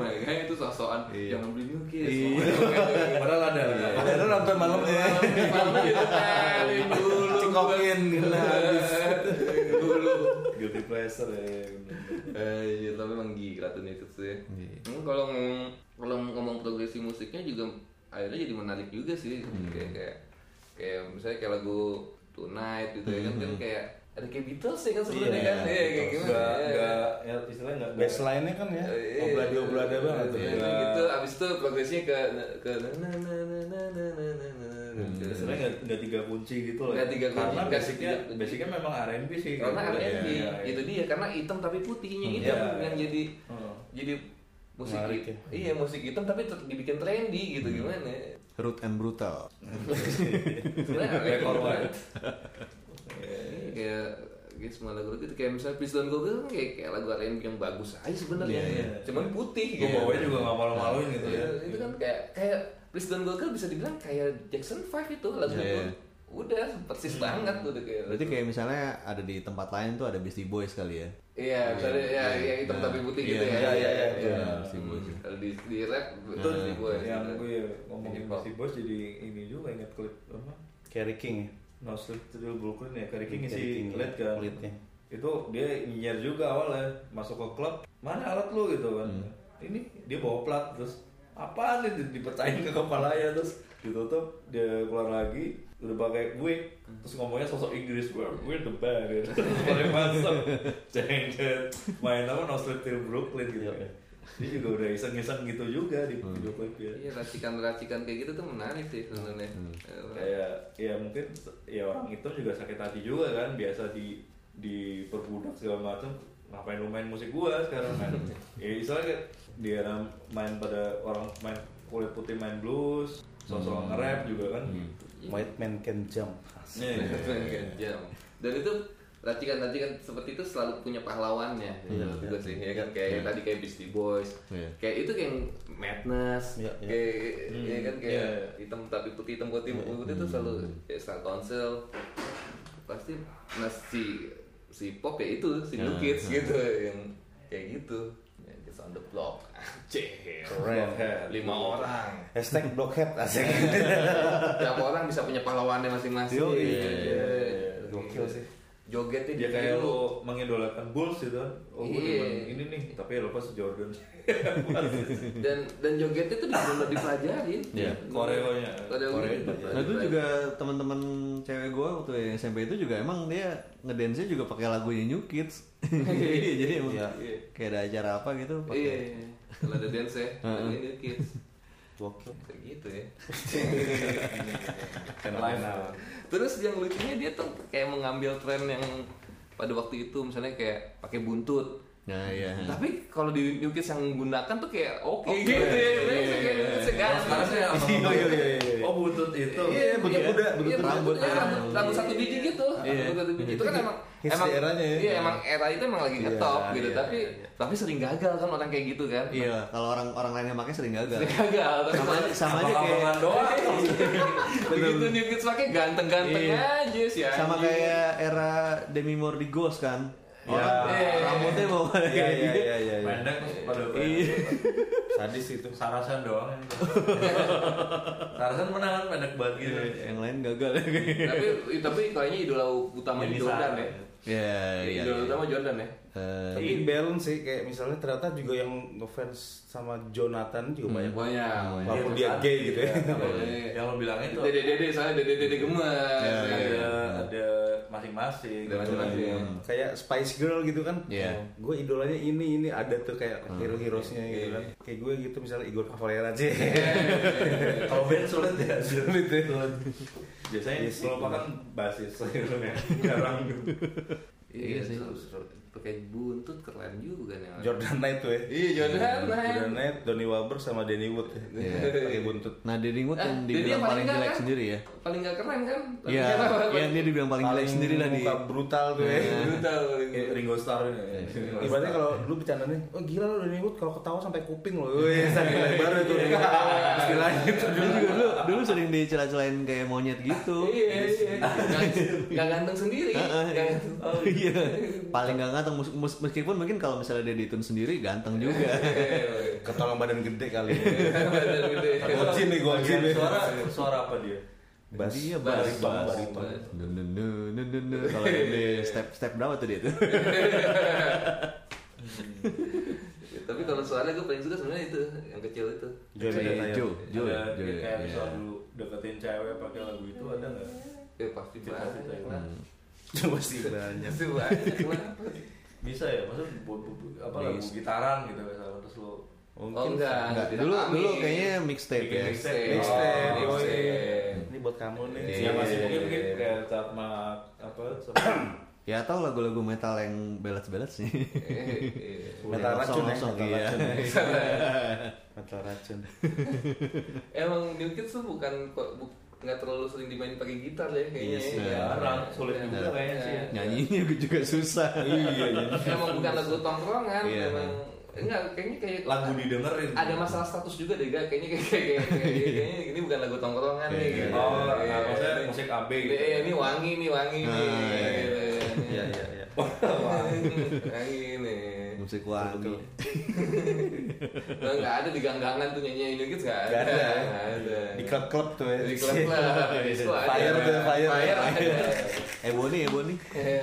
Speaker 6: Makanya itu sosokan
Speaker 3: Iya.
Speaker 6: jangan beli New Kids.
Speaker 3: Iya.
Speaker 4: Padahal ada.
Speaker 5: Padahal sampai malam ya.
Speaker 6: gitu. Iya, Malam gitu kan, dulu.
Speaker 5: Cikokin gila habis.
Speaker 6: Dulu.
Speaker 4: Guilty pleasure ya. bener.
Speaker 6: Eh, iya, tapi emang gila tuh New Kids tuh ya. Hmm, kalau ngomong kalau ngomong progresi musiknya juga akhirnya jadi menarik juga sih kayak kayak kayak misalnya kayak lagu Tonight gitu ya kan kan kayak ada kayak Beatles ya kan sebenarnya kan Iya, kayak gimana
Speaker 4: Nggak,
Speaker 6: ya.
Speaker 4: nggak, ya istilahnya nggak.
Speaker 5: Baseline-nya kan ya.
Speaker 6: Iya,
Speaker 5: Obladi oblada
Speaker 6: iya,
Speaker 5: banget tuh.
Speaker 6: iya,
Speaker 4: ya.
Speaker 6: gitu abis itu progresinya ke ke na na na na na na na na na na gitu.
Speaker 4: iya. Istilahnya nggak nggak tiga kunci gitu loh.
Speaker 6: Nggak tiga kunci,
Speaker 4: Karena
Speaker 6: nggak
Speaker 4: basicnya,
Speaker 6: tiga kunci.
Speaker 4: basicnya memang R&B sih.
Speaker 6: karena
Speaker 4: Iya,
Speaker 6: R&B
Speaker 4: iya, iya.
Speaker 6: itu dia karena hitam tapi putihnya itu
Speaker 4: Iya.
Speaker 6: yang jadi
Speaker 4: Hmm.
Speaker 6: jadi musik
Speaker 5: Menarik
Speaker 6: hit-
Speaker 5: ya.
Speaker 6: iya musik hitam tapi ter- dibikin trendy gitu
Speaker 4: Hmm.
Speaker 6: gimana
Speaker 3: Rude and brutal.
Speaker 6: Iya, Sebenarnya
Speaker 4: Black or
Speaker 6: ada
Speaker 4: white.
Speaker 6: kayak kayak semua lagu itu kayak misalnya Please Don't Go Girl kan kayak, kayak lagu R&B yang bagus aja sebenarnya
Speaker 3: Iya, iya.
Speaker 6: cuman putih gitu.
Speaker 4: Gue bawain juga nggak malu-maluin gitu
Speaker 6: Iya,
Speaker 4: ya.
Speaker 6: itu kan kayak kayak Please Don't Go Girl bisa dibilang kayak Jackson 5 itu lagu
Speaker 3: Iya, iya.
Speaker 6: itu udah persis
Speaker 4: Hmm.
Speaker 6: banget udah kayak
Speaker 3: Berarti kayak misalnya ada di tempat lain tuh ada Beastie Boys kali ya.
Speaker 6: iya misalnya ya yang hitam tapi putih gitu ya
Speaker 3: Iya,
Speaker 5: iya, iya,
Speaker 3: iya.
Speaker 6: Hmm, kalau di di rap itu di gue
Speaker 4: Yang gue ngomongin
Speaker 6: Hip-hop.
Speaker 4: si bos jadi ini juga inget klip apa?
Speaker 5: Carrie King ya.
Speaker 4: No Sleep to the Brooklyn ya, Kerry King
Speaker 5: Kerry King, iya. ya.
Speaker 4: ngisi lead kan
Speaker 5: leadnya.
Speaker 4: Itu dia nyinyir juga awalnya, masuk ke klub, mana alat lu gitu kan
Speaker 5: Hmm.
Speaker 4: Ini dia bawa plat, terus apaan nih Di- dipecahin ke kepalanya terus ditutup dia keluar lagi udah pakai wig terus ngomongnya sosok Inggris we're, we're the band gitu Terus paling masuk Jeng, jeng. main apa No Sleep Till Brooklyn
Speaker 5: Iya.
Speaker 4: gitu kan dia juga udah iseng-iseng gitu juga di
Speaker 5: Hmm.
Speaker 4: ya. video klipnya
Speaker 6: iya racikan-racikan kayak gitu tuh menarik sih sebenarnya Eh,
Speaker 4: kayak ya mungkin ya orang itu juga sakit hati juga kan biasa di di perbudak segala macam ngapain lu main musik gua sekarang kan ya misalnya dia main pada orang main kulit putih main blues sosok nge-rap juga kan
Speaker 6: Iya.
Speaker 5: White man can jump.
Speaker 4: Iya, iya, iya.
Speaker 6: Jam. Dan itu racikan-racikan seperti itu selalu punya pahlawannya gitu loh juga sih ya kan kayak tadi kayak Beastie Boys
Speaker 3: Iya.
Speaker 6: kayak itu kayak madness
Speaker 5: Iya, iya.
Speaker 6: kayak ya kan kayak
Speaker 4: iya, iya.
Speaker 6: hitam tapi putih hitam putih hitam putih itu selalu kayak Star Council pasti nah si si pop ya itu si New Kids gitu yang kayak gitu Ya, Kids on the block Cih,
Speaker 4: Blockhead.
Speaker 6: lima orang
Speaker 5: Hashtag blockhead asik.
Speaker 6: Tiap orang bisa punya pahlawannya masing-masing.
Speaker 5: Yoi.
Speaker 6: Iya.
Speaker 5: Gokil sih.
Speaker 6: Jogetnya
Speaker 4: dia kayak lu mengidolakan Bulls gitu kan oh gua
Speaker 6: Iya.
Speaker 4: demen ini nih tapi ya lepas Jordan
Speaker 6: dan dan jogetnya tuh benar dipelajarin.
Speaker 3: Iya.
Speaker 4: koreonya
Speaker 6: Korea.
Speaker 3: Nah itu juga teman-teman cewek gue waktu SMP itu juga emang dia ngedance juga pakai lagunya New Kids. Iya, Jadi emang
Speaker 5: Iya.
Speaker 3: kayak ada acara apa gitu.
Speaker 6: Iya.
Speaker 3: pakai
Speaker 6: Kalau ada dance ya, ada New Kids.
Speaker 5: Gokil.
Speaker 6: Kayak gitu ya.
Speaker 4: Live.
Speaker 6: Terus yang lucunya dia tuh kayak mengambil tren yang pada waktu itu misalnya kayak pakai buntut.
Speaker 3: Nah, iya.
Speaker 6: Tapi kalau di New Kids yang menggunakan tuh kayak oke gitu ya. Sebenarnya kayak New Kids sekarang.
Speaker 4: Sekarang saya apa?
Speaker 5: Iya, iya, iya, iya.
Speaker 4: Oh buntut itu.
Speaker 5: Iya, begitu
Speaker 6: iya.
Speaker 5: udah, begitu
Speaker 6: Iya,
Speaker 5: udah.
Speaker 6: rambut,
Speaker 5: Iya.
Speaker 3: kan.
Speaker 6: rambut, rambut satu biji gitu.
Speaker 3: Iya.
Speaker 6: Rambut satu biji itu kan emang
Speaker 5: Hits
Speaker 6: emang
Speaker 5: di eranya ya.
Speaker 6: Iya, emang era itu emang lagi ngetop gitu, tapi tapi sering gagal kan orang kayak gitu kan.
Speaker 3: Iya, kalau orang orang lain yang pakai sering gagal.
Speaker 6: Sering gagal. Terus
Speaker 3: Sama sama aja kayak
Speaker 4: Abang-abangan doang.
Speaker 6: begitu New Kids pakai ganteng-ganteng
Speaker 3: Iya.
Speaker 6: aja sih ya.
Speaker 3: sama kayak era Demi Moore di Ghost kan. Orang
Speaker 6: Iya.
Speaker 3: rambutnya mau kayak
Speaker 6: Ya,
Speaker 5: Iya, iya,
Speaker 3: gitu.
Speaker 5: iya, iya, iya.
Speaker 4: Pendek pada gitu.
Speaker 3: Iya.
Speaker 5: Sadis itu.
Speaker 4: Sarasan doang. yang- Sarasan menang kan pendek banget gitu.
Speaker 5: Iya.
Speaker 3: Iya, Yang lain gagal.
Speaker 6: Iya, tapi tapi kayaknya idola utama
Speaker 4: Jadi
Speaker 6: Jordan
Speaker 4: saran.
Speaker 6: ya.
Speaker 3: Iya, iya.
Speaker 6: Idola utama Jordan ya.
Speaker 3: Eh,
Speaker 5: Tapi balance sih kayak misalnya ternyata juga yang ngefans sama
Speaker 6: Hmm.
Speaker 5: Jonathan juga banyak
Speaker 6: Banyak.
Speaker 5: banget.
Speaker 3: Iya,
Speaker 5: Walaupun dia gay gitu ya.
Speaker 6: Iya.
Speaker 4: Yang lo bilang itu
Speaker 6: Dede dede soalnya dede dede gemes.
Speaker 3: Iya,
Speaker 6: Iya.
Speaker 4: ada ada masing-masing. gitu. Iya.
Speaker 6: Ada masing-masing.
Speaker 5: kayak Spice Girl gitu kan
Speaker 3: Iya. Hmm.
Speaker 5: gue idolanya ini ini ada tuh kayak hero heroesnya gitu
Speaker 4: Iya.
Speaker 5: kan kayak gue gitu misalnya Igor Cavalera sih
Speaker 4: Kalau band sulit ya.
Speaker 5: Sulit ya.
Speaker 4: Biasanya
Speaker 5: Iya sih.
Speaker 4: kalau makan basis gitu ya. Jarang gitu.
Speaker 6: Iya sih. Pakai buntut keren juga nih. orang.
Speaker 5: Jordan Knight tuh ya
Speaker 6: Iya Jordan.
Speaker 5: Jordan Knight Donny Wahlberg sama Danny Wood ya
Speaker 3: Iya.
Speaker 5: pakai buntut
Speaker 3: Nah, Danny Wood
Speaker 6: Ah,
Speaker 3: yang
Speaker 6: jadi
Speaker 3: dibilang
Speaker 6: yang paling
Speaker 3: paling
Speaker 6: enggak
Speaker 3: jelek
Speaker 6: kan?
Speaker 3: sendiri ya.
Speaker 6: Paling gak keren kan?
Speaker 3: Iya, yang dia dibilang paling jelek sendiri lah di
Speaker 5: muka brutal tuh ya
Speaker 6: Brutal.
Speaker 4: Ringo Starr ini. Iya, Ringo
Speaker 5: Ibaratnya
Speaker 4: Starr.
Speaker 5: kalau dulu bercandanya, oh gila lu Danny Wood kalau ketawa sampai kuping loh. Wih, sakit lebar itu. Istilahnya itu
Speaker 3: Dia juga dulu dulu sering dicela-celain kayak monyet gitu.
Speaker 6: Iya iya. Gak- Gak ganteng sendiri.
Speaker 3: Heeh,
Speaker 6: Gak
Speaker 3: iya.
Speaker 6: ganteng.
Speaker 3: Oh, iya. Paling gak ganteng mus- mus- meskipun mungkin kalau misalnya dia dihitung sendiri ganteng
Speaker 6: Iya,
Speaker 3: juga.
Speaker 5: ketolong badan gede kali.
Speaker 6: Badan gede.
Speaker 5: Gocin nih,
Speaker 4: Bagian
Speaker 5: gocin nih.
Speaker 4: Suara suara apa dia?
Speaker 5: Bas.
Speaker 3: Dia
Speaker 6: Bas,
Speaker 5: bariton,
Speaker 6: bas,
Speaker 5: bariton.
Speaker 6: bas.
Speaker 3: Nu, nu, nu, nu, nu, nu. Kalau yang di step step berapa tuh dia tuh?
Speaker 6: Tapi kalau soalnya gue paling suka sebenarnya itu yang kecil itu.
Speaker 5: Joy
Speaker 3: Si
Speaker 5: Badatai.
Speaker 3: Jo, Jo, ya,
Speaker 4: Ada
Speaker 3: Jo.
Speaker 4: dia
Speaker 3: ya.
Speaker 4: kayak
Speaker 3: Iya.
Speaker 4: misalnya dulu deketin cewek pakai lagu itu ada nggak?
Speaker 6: Ya pasti banyak lah.
Speaker 5: Coba sih banyak.
Speaker 6: Pasti banyak lah.
Speaker 4: Bisa ya, maksudnya buat bu- bu- apa lagu
Speaker 3: Bisa.
Speaker 4: gitaran gitu misalnya terus lo
Speaker 6: Oh enggak.
Speaker 3: Enggak,
Speaker 6: tidak
Speaker 3: dulu
Speaker 6: kami.
Speaker 3: dulu kayaknya mixtape ya.
Speaker 4: Bikin mixtape.
Speaker 5: Mixtape,
Speaker 6: Oh,
Speaker 5: yoi.
Speaker 6: mixtape.
Speaker 5: Ini buat kamu nih.
Speaker 3: Iya.
Speaker 4: Ya masih mungkin mungkin kayak sama apa sama
Speaker 3: Ya atau lagu-lagu metal yang balance-balance sih.
Speaker 6: Eh,
Speaker 5: Metal
Speaker 3: Yang
Speaker 5: racun ya,
Speaker 3: kosong-kosong,
Speaker 5: metal
Speaker 3: iya.
Speaker 5: racun.
Speaker 6: eh.
Speaker 5: Metal racun.
Speaker 6: Emang New Kids tuh bukan kok- bu- nggak terlalu sering dimain pakai gitar ya kayaknya.
Speaker 3: Yes,
Speaker 6: ya.
Speaker 4: jarang, sulit
Speaker 6: Ya.
Speaker 4: juga kayaknya sih ya.
Speaker 3: Nyanyinya juga susah.
Speaker 5: Iya, iya.
Speaker 6: Emang bukan lagu tongkrongan,
Speaker 3: Iya.
Speaker 6: emang enggak kayaknya kayak
Speaker 4: lagu didengerin.
Speaker 6: ada masalah status juga deh gak kayaknya kayak kayak kayak- kayak- kayaknya ini bukan lagu tongkrongan nih
Speaker 3: Iya.
Speaker 6: gitu.
Speaker 4: Oh, nah,
Speaker 6: Iya.
Speaker 4: maksudnya musik AB gitu.
Speaker 6: Iya, ini wangi nih wangi nih.
Speaker 3: Nah, iya.
Speaker 6: Gitu.
Speaker 5: Iya, iya, iya.
Speaker 6: Wangi nih.
Speaker 3: Musik wangi.
Speaker 6: Nah, nggak ada di ganggangan tuh nyanyi New Kids nggak ada.
Speaker 5: Gak
Speaker 3: ya?
Speaker 5: ada.
Speaker 6: Nggak ada.
Speaker 5: Di klub-klub tuh ya.
Speaker 6: Di klub
Speaker 3: Iya,
Speaker 6: lah. Di disco ada.
Speaker 5: Fire tuh, fire.
Speaker 6: Fire ada. Iya,
Speaker 3: Ebony, Ebony. iya.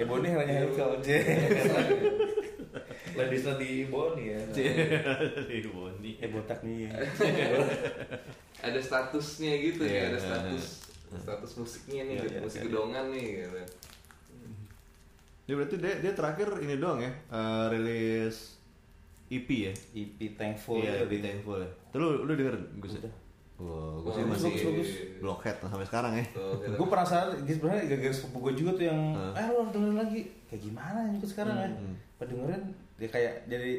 Speaker 5: Ebony hanya Haikal aja.
Speaker 4: Ladies Lady Bonnie ya.
Speaker 3: Iya.
Speaker 6: iya.
Speaker 4: Nah,
Speaker 3: Ebony.
Speaker 5: Eh botak nih.
Speaker 6: Ada statusnya gitu
Speaker 3: Iya,
Speaker 6: ya, ada
Speaker 3: iya,
Speaker 6: status status musiknya nih,
Speaker 5: Iya, iya,
Speaker 6: musik
Speaker 5: iya.
Speaker 6: gedongan nih gitu.
Speaker 3: Dia Ya, berarti dia, dia terakhir ini doang ya, eh, rilis EP ya.
Speaker 5: EP E thankful
Speaker 3: iya,
Speaker 5: ya.
Speaker 3: EP Thankful ya. Terus lu, lu denger Gus? ya? Wah, gue sih
Speaker 6: Bagus,
Speaker 3: masih
Speaker 6: bagus, bagus.
Speaker 3: blockhead sampai sekarang ya.
Speaker 6: Tuh, gitu.
Speaker 5: Gue penasaran, dia sebenarnya gara-gara sepupu gue juga tuh yang,
Speaker 3: Hah?
Speaker 5: eh lu harus dengerin lagi. Kayak gimana juga sekarang ya?
Speaker 3: Hmm.
Speaker 5: Pas dengerin, dia kayak jadi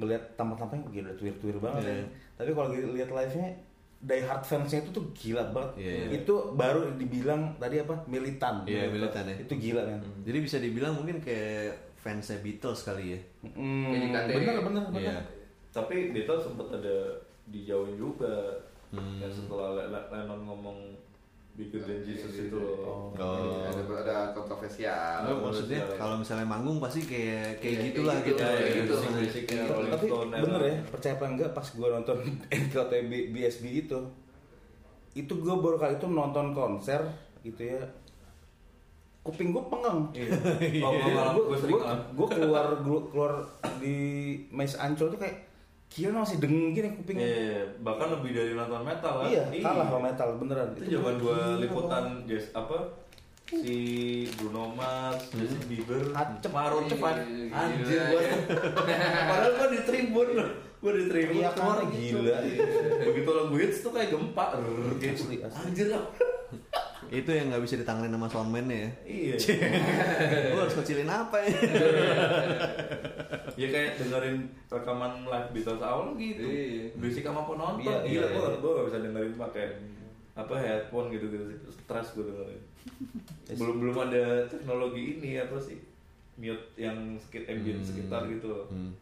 Speaker 5: ngelihat tampang-tampangnya gila tuir-tuir banget
Speaker 3: Iya.
Speaker 5: ya. Tapi kalau gitu lihat live-nya, die hard fansnya itu tuh gila banget.
Speaker 3: Iya, iya.
Speaker 5: Itu baru dibilang tadi apa? Militan.
Speaker 3: Iya, militan ya.
Speaker 5: Itu gila kan.
Speaker 3: Jadi bisa dibilang mungkin kayak fansnya Beatles kali ya.
Speaker 5: Hmm,
Speaker 6: Kayak di KTI.
Speaker 5: bener bener bener.
Speaker 3: Iya.
Speaker 4: Tapi Dito sempat ada dijauhin juga.
Speaker 3: Hmm.
Speaker 4: Ya, setelah Le- Le- Lennon ngomong bigger than Jesus itu
Speaker 3: Oh.
Speaker 4: loh.
Speaker 6: Iya, Ada, ada kontroversial.
Speaker 3: Nggak, maksudnya
Speaker 4: Bener.
Speaker 3: kalau misalnya manggung pasti kayak kayak
Speaker 6: Iya,
Speaker 3: gitulah
Speaker 6: kayak
Speaker 3: gitu.
Speaker 6: gitu, kayak gitu.
Speaker 3: Musik-musik.
Speaker 6: Iya.
Speaker 4: Rolling
Speaker 5: Tapi
Speaker 4: Stone Iya, era.
Speaker 5: bener ya, percaya apa enggak pas gue nonton NKTB BSB itu Itu gue baru kali itu nonton konser gitu ya Kuping gue pengang
Speaker 4: Oh, pengalaman
Speaker 5: gue
Speaker 4: gue sering ngalamin.
Speaker 5: keluar gua keluar di Mes Ancol tuh kayak Gila masih dengeng gini kupingnya
Speaker 4: Iya, bahkan lebih dari nonton metal kan?
Speaker 5: Iya, kalah sama metal beneran Iya,
Speaker 4: Itu zaman
Speaker 5: gua
Speaker 4: gua
Speaker 5: gila,
Speaker 4: liputan jazz apa si Bruno Mars, Justin Bieber,
Speaker 5: Acep.
Speaker 4: Maroon
Speaker 6: Hmm. Iya,
Speaker 4: cepat,
Speaker 6: iya, iya.
Speaker 4: anjir gua. Padahal gua di tribun loh. gue dari training
Speaker 5: Teriakan
Speaker 4: keluar
Speaker 5: gitu.
Speaker 4: gila begitu lagu hits tuh kayak gempa rrrr, kayak,
Speaker 5: Asli, asli.
Speaker 4: anjir lah
Speaker 3: Itu yang nggak bisa ditangani sama soundman ya.
Speaker 4: iya
Speaker 3: Gue harus kecilin apa ya?
Speaker 4: ya kayak dengerin rekaman live Beatles awal gitu
Speaker 6: Iya.
Speaker 4: berisik sama penonton
Speaker 5: Iya,
Speaker 4: gila
Speaker 5: iya,
Speaker 4: gue
Speaker 5: iya. Hmm.
Speaker 4: gue gak bisa dengerin pakai apa headphone gitu gitu stres gue dengerin belum belum ada teknologi ini apa sih mute yang sekit ambient sekitar gitu loh
Speaker 3: Hmm.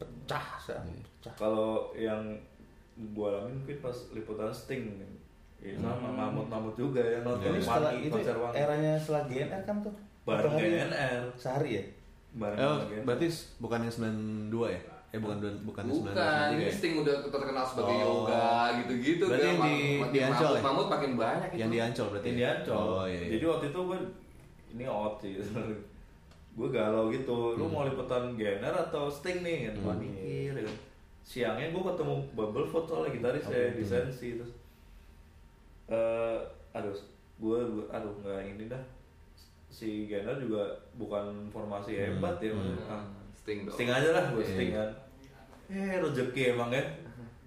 Speaker 5: Pecah, saya
Speaker 4: Iya.
Speaker 5: pecah.
Speaker 4: kalau yang gue alamin mungkin pas liputan Sting mungkin. ya sama mamut-mamut juga ya nonton
Speaker 5: Ini Hmm. setelah
Speaker 4: wangi
Speaker 5: itu
Speaker 4: konser wangi
Speaker 5: eranya setelah GNR kan tuh.
Speaker 4: bareng
Speaker 5: Atau hari-
Speaker 4: GNR
Speaker 5: Sehari ya?
Speaker 4: bareng
Speaker 3: Eh,
Speaker 4: sama GNR.
Speaker 3: berarti s- bukan yang 92 ya? Eh bukan dua- bukan yang
Speaker 6: Bukan,
Speaker 3: 92
Speaker 6: ini
Speaker 3: ya?
Speaker 6: Sting udah terkenal sebagai
Speaker 3: Oh.
Speaker 6: yoga gitu-gitu
Speaker 3: Berarti
Speaker 6: kan.
Speaker 3: yang di-
Speaker 6: Makin
Speaker 3: di Ancol ya?
Speaker 6: mamut makin banyak itu.
Speaker 3: Yang di Ancol berarti.
Speaker 4: Ini ancol.
Speaker 3: Oh iya. iya.
Speaker 4: Jadi waktu itu gue ini out sih. gue galau gitu.
Speaker 3: Hmm.
Speaker 4: Lu mau liputan Jenner atau Sting nih? Gue mikir. ya. Siangnya gue ketemu Bubble foto
Speaker 3: Oh,
Speaker 4: lagi gitaris saya di Sensi terus. eh aduh, gue aduh nggak ini dah. Si Jenner juga bukan formasi
Speaker 3: Hmm.
Speaker 4: hebat
Speaker 3: Iya.
Speaker 4: ya. maksudnya. Ah,
Speaker 6: Nah, Sting dong.
Speaker 4: Sting aja lah gue Sting kan. Eh rezeki emang ya.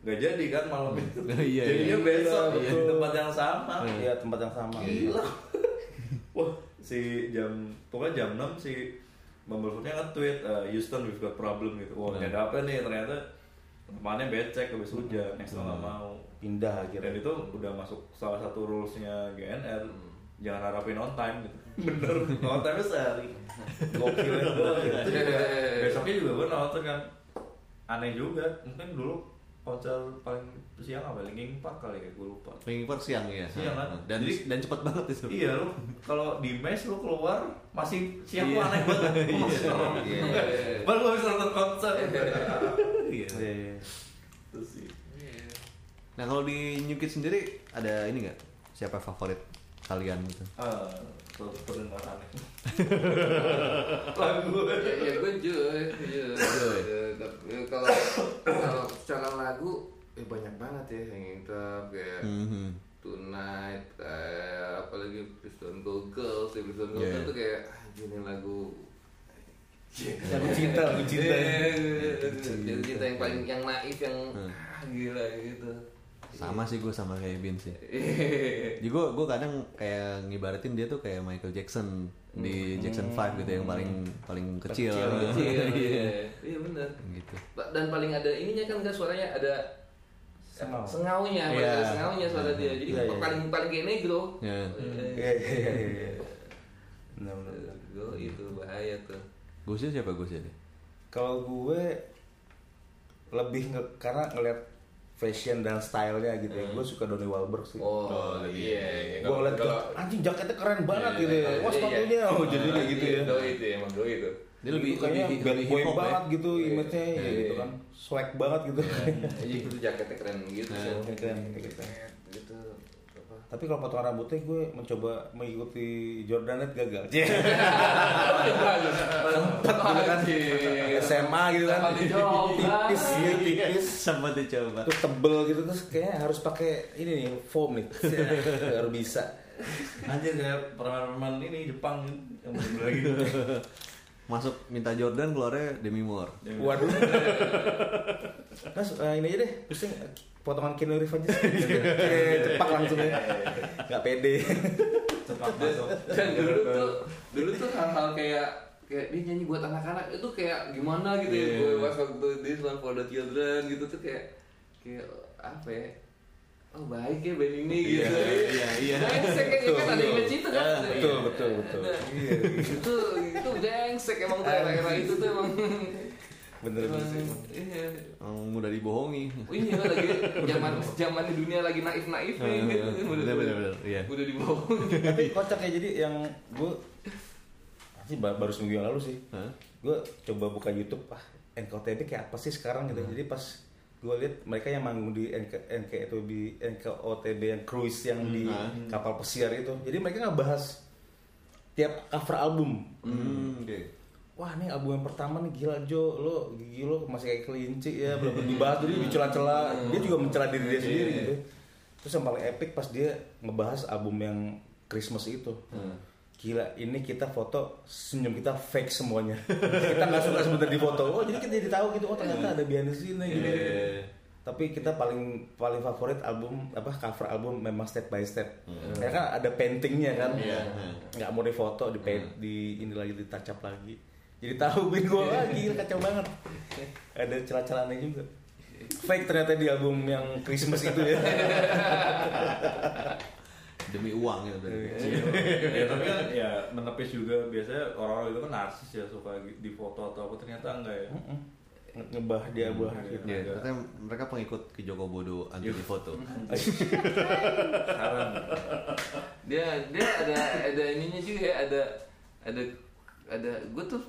Speaker 4: Gak jadi kan malam itu.
Speaker 3: Iya,
Speaker 4: Jadinya
Speaker 3: iya.
Speaker 4: besok
Speaker 5: Iya,
Speaker 4: di
Speaker 5: betul.
Speaker 4: tempat yang sama.
Speaker 5: Iya, tempat yang sama.
Speaker 4: Gila. Wah, si jam pokoknya jam 6 si Bumblefootnya nge-tweet eh, Houston we've got problem gitu. Wah, ini ada apa nih? Ternyata temannya becek habis hujan, next nggak mau.
Speaker 5: Pindah akhirnya.
Speaker 4: Dan itu udah masuk salah satu rulesnya GNR. Jangan harapin on time gitu. Bener, on time sehari. Gokil banget. Besoknya juga gue nonton kan. Aneh juga, mungkin dulu konser paling siang apa? Linkin Park kali ya, gue lupa.
Speaker 3: Linkin Park siang ya.
Speaker 4: Siang, kan?
Speaker 3: Dan
Speaker 4: Jadi-
Speaker 3: dan cepat banget itu.
Speaker 4: Iya lu kalau di mes lu keluar masih siang lu aneh banget. Lu masih orang. Baru lu bisa nonton konser. Iya.
Speaker 5: Iya.
Speaker 4: Terus sih.
Speaker 3: Nah kalau di New Kids sendiri ada ini nggak? Siapa favorit kalian gitu?
Speaker 4: Ah, terus terdengar aneh. Lagu.
Speaker 6: Ya, ya gue Joy, Joy. Tapi Iya, Kalau kalau secara lagu eh banyak banget ya yang kita kayak
Speaker 3: Mhm.
Speaker 6: Tonight, eh, kayak apalagi Prison Go Girls, ya Prison Go
Speaker 3: Iya,
Speaker 6: Girls
Speaker 3: iya.
Speaker 6: tuh kayak anjing ini lagu
Speaker 5: Lagu cinta, lagu cinta.
Speaker 6: Cinta, cinta Iya, yang paling yang naif yang ah, gila gitu.
Speaker 3: Sama sih gue sama kayak Bin sih. Jadi gue gue kadang kayak ngibaratin dia tuh kayak Michael Jackson di Jackson 5 gitu yang paling paling kecil.
Speaker 6: Iya,
Speaker 3: Iya.
Speaker 6: iya benar.
Speaker 3: gitu.
Speaker 6: Dan paling ada ininya kan enggak suaranya ada
Speaker 5: Sengau.
Speaker 6: sengaunya,
Speaker 3: Iya.
Speaker 6: ada sengaunya suara dia. Jadi
Speaker 5: Iya, iya.
Speaker 6: paling paling kayak negro. Oh,
Speaker 3: Iya.
Speaker 5: Iya, iya, iya, iya. Benar, benar, benar.
Speaker 6: Negro itu bahaya tuh.
Speaker 3: Gusnya siapa Gusnya deh?
Speaker 5: Kalau gue lebih nge karena ngeliat fashion dan stylenya gitu ya. Gue suka Donny Wahlberg sih.
Speaker 6: Hmm. Oh, iya. iya.
Speaker 5: gue
Speaker 6: Kalau-
Speaker 5: liat
Speaker 6: kalau-
Speaker 5: kan, anjing jaketnya keren banget
Speaker 6: Iya,
Speaker 5: gitu ya.
Speaker 6: iya,
Speaker 5: Wah
Speaker 6: iya.
Speaker 5: sepatunya, oh jadi kayak gitu ya.
Speaker 6: Doi itu ya, emang doi itu.
Speaker 3: Dia lebih
Speaker 5: Gitu kayaknya
Speaker 3: lebih,
Speaker 5: bad
Speaker 3: lebih
Speaker 5: boy
Speaker 3: hip hop ya.
Speaker 5: banget gitu
Speaker 6: Iya.
Speaker 5: image-nya ya
Speaker 6: Iya,
Speaker 5: gitu
Speaker 6: iya.
Speaker 5: kan. Swag banget gitu.
Speaker 6: Jadi itu jaketnya keren gitu.
Speaker 5: Keren,
Speaker 6: sih.
Speaker 5: Nah, keren, gitu.
Speaker 6: Gitu. Apa?
Speaker 5: Tapi kalau potongan rambutnya gue mencoba mengikuti Jordanet gagal.
Speaker 6: Iya, Tempat
Speaker 5: gitu kan.
Speaker 6: iya.
Speaker 5: SMA gitu kan. kan.
Speaker 6: Tempat dicoba.
Speaker 5: Tipis gitu, tipis.
Speaker 3: Sama Iya, dicoba.
Speaker 5: Terus tebel gitu terus kayaknya harus pakai ini nih foam nih. Baru bisa.
Speaker 4: Anjir kayak permen-permen ini Jepang kan. yang belum lagi.
Speaker 3: Masuk minta Jordan keluarnya Demi Moore.
Speaker 4: Iya.
Speaker 5: Waduh. Mas eh, ini aja deh, pusing eh, potongan Keanu Reeves aja. Eh, Cepak langsung ya. Gak pede.
Speaker 4: Cepat masuk.
Speaker 6: Dan dulu tuh, dulu tuh hal-hal kayak kayak dia nyanyi buat anak-anak itu kayak gimana gitu
Speaker 5: Iya.
Speaker 6: ya. Gue pas waktu this one for the children gitu tuh kayak kayak apa ya? Oh baik ya band ini gitu.
Speaker 3: iya, iya.
Speaker 6: Nah, itu saya kayak kan ada image itu kan.
Speaker 5: Ah, Betul, betul, betul. Iya,
Speaker 6: Nah, itu itu brengsek emang tuh era-era itu tuh emang
Speaker 5: Bener bener sih.
Speaker 6: emang, iya
Speaker 3: Yang mudah dibohongi.
Speaker 6: Oh iya lagi zaman zaman di dunia lagi naif naif
Speaker 3: Eh,
Speaker 6: gitu
Speaker 3: bener, bener, bener, iya.
Speaker 6: udah dibohong
Speaker 5: Tapi kocak ya jadi yang gue sih ba- baru seminggu yang lalu sih.
Speaker 3: Hah?
Speaker 5: Gue coba buka YouTube ah NKTB kayak apa sih sekarang gitu. Jadi pas gue lihat mereka yang manggung di NK, NKTB, NKOTB yang cruise yang di kapal pesiar itu. Jadi mereka nggak bahas tiap cover album.
Speaker 3: Hmm, oke.
Speaker 5: Wah nih album yang pertama nih gila Jo, lo gigi lo masih kayak kelinci ya, belum dibahas jadi dicela-cela. Dia juga mencela diri dia sendiri gitu. Terus yang paling epic pas dia ngebahas album yang Christmas itu. gila ini kita foto senyum kita fake semuanya kita nggak suka sebentar di foto oh jadi kita jadi tahu gitu oh ternyata ada behind the scene gitu, gitu. tapi kita paling paling favorit album apa cover album memang step by step karena kan ada paintingnya kan nggak mau difoto di paint di ini lagi ditacap lagi jadi tahu bin gue lagi kacau banget ada celah-celahnya juga fake ternyata di album yang Christmas itu ya
Speaker 3: demi uang gitu dari kecil.
Speaker 4: ya tapi kan ya menepis juga biasanya orang-orang itu kan narsis ya suka di foto atau apa ternyata enggak ya
Speaker 5: Nge- ngebah dia buah gitu.
Speaker 3: Iya, katanya mereka pengikut ke Joko Bodo anti di foto.
Speaker 4: saran
Speaker 6: dia dia ada ada ininya juga ya, ada ada ada gue tuh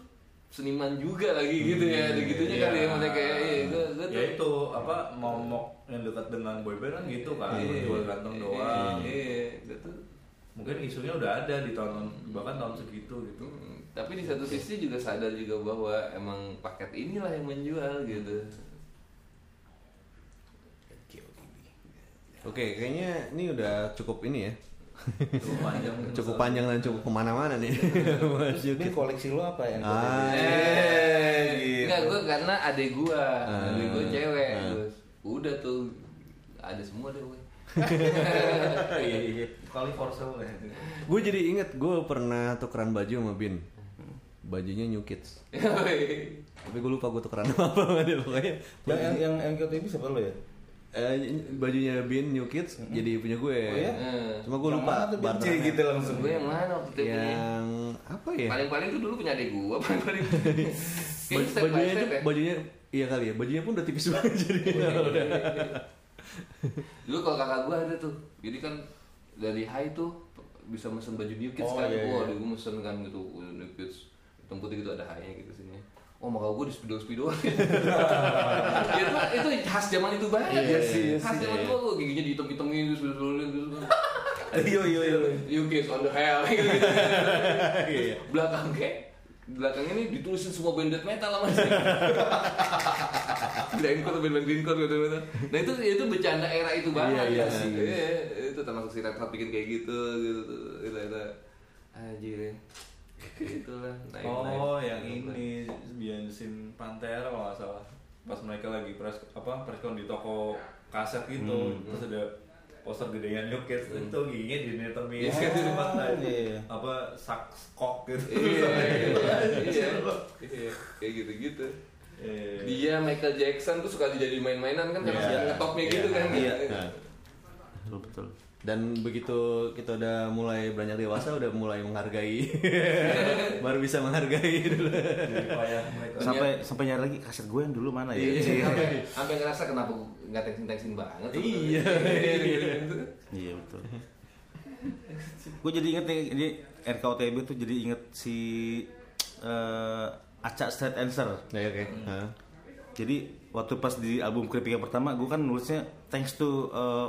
Speaker 6: seniman juga lagi gitu ya ada gitunya kali ya mereka ya iya, gue gue
Speaker 4: Hmm, Iya. ya
Speaker 6: tuh
Speaker 4: itu apa momok yang dekat dengan boyband kan gitu kan jual ganteng doang
Speaker 6: iya, iya gue tuh
Speaker 4: mungkin isunya udah ada di tahun bahkan tahun segitu gitu
Speaker 6: Hmm, tapi di satu sisi juga sadar juga bahwa emang paket inilah yang menjual gitu
Speaker 3: Oke, kayaknya ini udah cukup ini ya.
Speaker 4: cukup panjang
Speaker 3: Cukup panjang dan cukup kemana-mana nih. Mas
Speaker 5: Ini
Speaker 3: Yuki.
Speaker 5: koleksi lo apa ya? yang
Speaker 3: Ah,
Speaker 6: Eh,
Speaker 3: gitu.
Speaker 6: Enggak, gue karena adek gue,
Speaker 3: Ah,
Speaker 6: adek gue cewek. Terus, Udah tuh, ada semua deh gue.
Speaker 4: iya iya kali for sale ya
Speaker 3: gue jadi inget gue pernah tukeran baju sama Bin. Bajunya New Kids. Tapi gue lupa gue tukeran sama apa sama dia pokoknya.
Speaker 5: yang yang yang, yang Kyoto ini siapa lo ya?
Speaker 3: Eh, bajunya Bin New Kids jadi punya gue.
Speaker 5: iya?
Speaker 3: Cuma gue lupa
Speaker 5: Mana tuh benci
Speaker 3: barterannya.
Speaker 5: gitu langsung.
Speaker 6: gue yang mana waktu itu
Speaker 3: Iya.
Speaker 6: punya?
Speaker 3: Yang apa ya?
Speaker 6: Paling-paling tuh dulu punya adek gue, paling-paling. Kayaknya
Speaker 3: Baj-
Speaker 6: step by
Speaker 3: bajunya
Speaker 6: step
Speaker 3: itu
Speaker 6: ya. Iya,
Speaker 3: bajunya iya kali ya. Bajunya pun udah tipis banget jadi.
Speaker 6: Dulu kalau kakak gue ada tuh, jadi kan dari high tuh bisa mesen baju New Kids
Speaker 5: Oh,
Speaker 6: kan.
Speaker 5: iya, iya.
Speaker 6: Wah, gue mesen kan gitu, uh, New Kids. Hitam putih gitu ada high-nya gitu sini. Oh, maka gue di speedo speedo itu, itu khas zaman itu banget.
Speaker 5: Iya sih, iya
Speaker 6: khas
Speaker 5: sih.
Speaker 6: zaman itu gua giginya gitu. dihitung hitungin terus terus terus terus. Iya,
Speaker 5: Yo yo yo.
Speaker 6: You kiss on the hell gitu. gitu.
Speaker 3: Iya.
Speaker 6: Terus belakang kayak belakang ini ditulisin semua band death metal sama sih. Greencore band-band greencore gitu gitu. Nah itu itu bercanda era itu banget.
Speaker 3: Iya, iya
Speaker 6: ya.
Speaker 3: sih.
Speaker 6: Iya, itu termasuk si Red Hot bikin kayak gitu gitu. Itu itu. Anjir. ya. Itulah naik
Speaker 4: oh yang
Speaker 6: gitu kan.
Speaker 4: ini Behind the Scene Pantera kalau nggak salah pas mereka lagi press apa preskon di toko kaset
Speaker 6: Hmm.
Speaker 4: gitu terus ada poster gedean New Kids itu giginya di netemin
Speaker 6: Iya.
Speaker 5: Iya.
Speaker 4: apa sakskok gitu
Speaker 6: Iya, iya, iya,
Speaker 4: Iya.
Speaker 6: iya, kayak gitu-gitu.
Speaker 4: Iya.
Speaker 6: dia Michael Jackson tuh suka dijadiin main-mainan kan karena
Speaker 3: Iya.
Speaker 6: ngetopnya gitu kan
Speaker 3: Iya. Betul betul. Dan begitu kita udah mulai banyak dewasa udah mulai menghargai. Baru bisa menghargai dulu.
Speaker 4: Jadi payah mereka.
Speaker 5: Sampai sampai nyari lagi kaset gue yang dulu mana ya? Iya.
Speaker 6: sampai sampai ngerasa kenapa nggak tensin tensin banget tuh.
Speaker 3: Iya.
Speaker 5: Iya betul. gue jadi inget nih, jadi RKUTB tuh jadi inget si eh Acak Straight Answer.
Speaker 3: Nah, oke.
Speaker 6: Hmm.
Speaker 3: Hah.
Speaker 5: Jadi waktu pas di album Creepy yang pertama, gue kan nulisnya thanks to uh,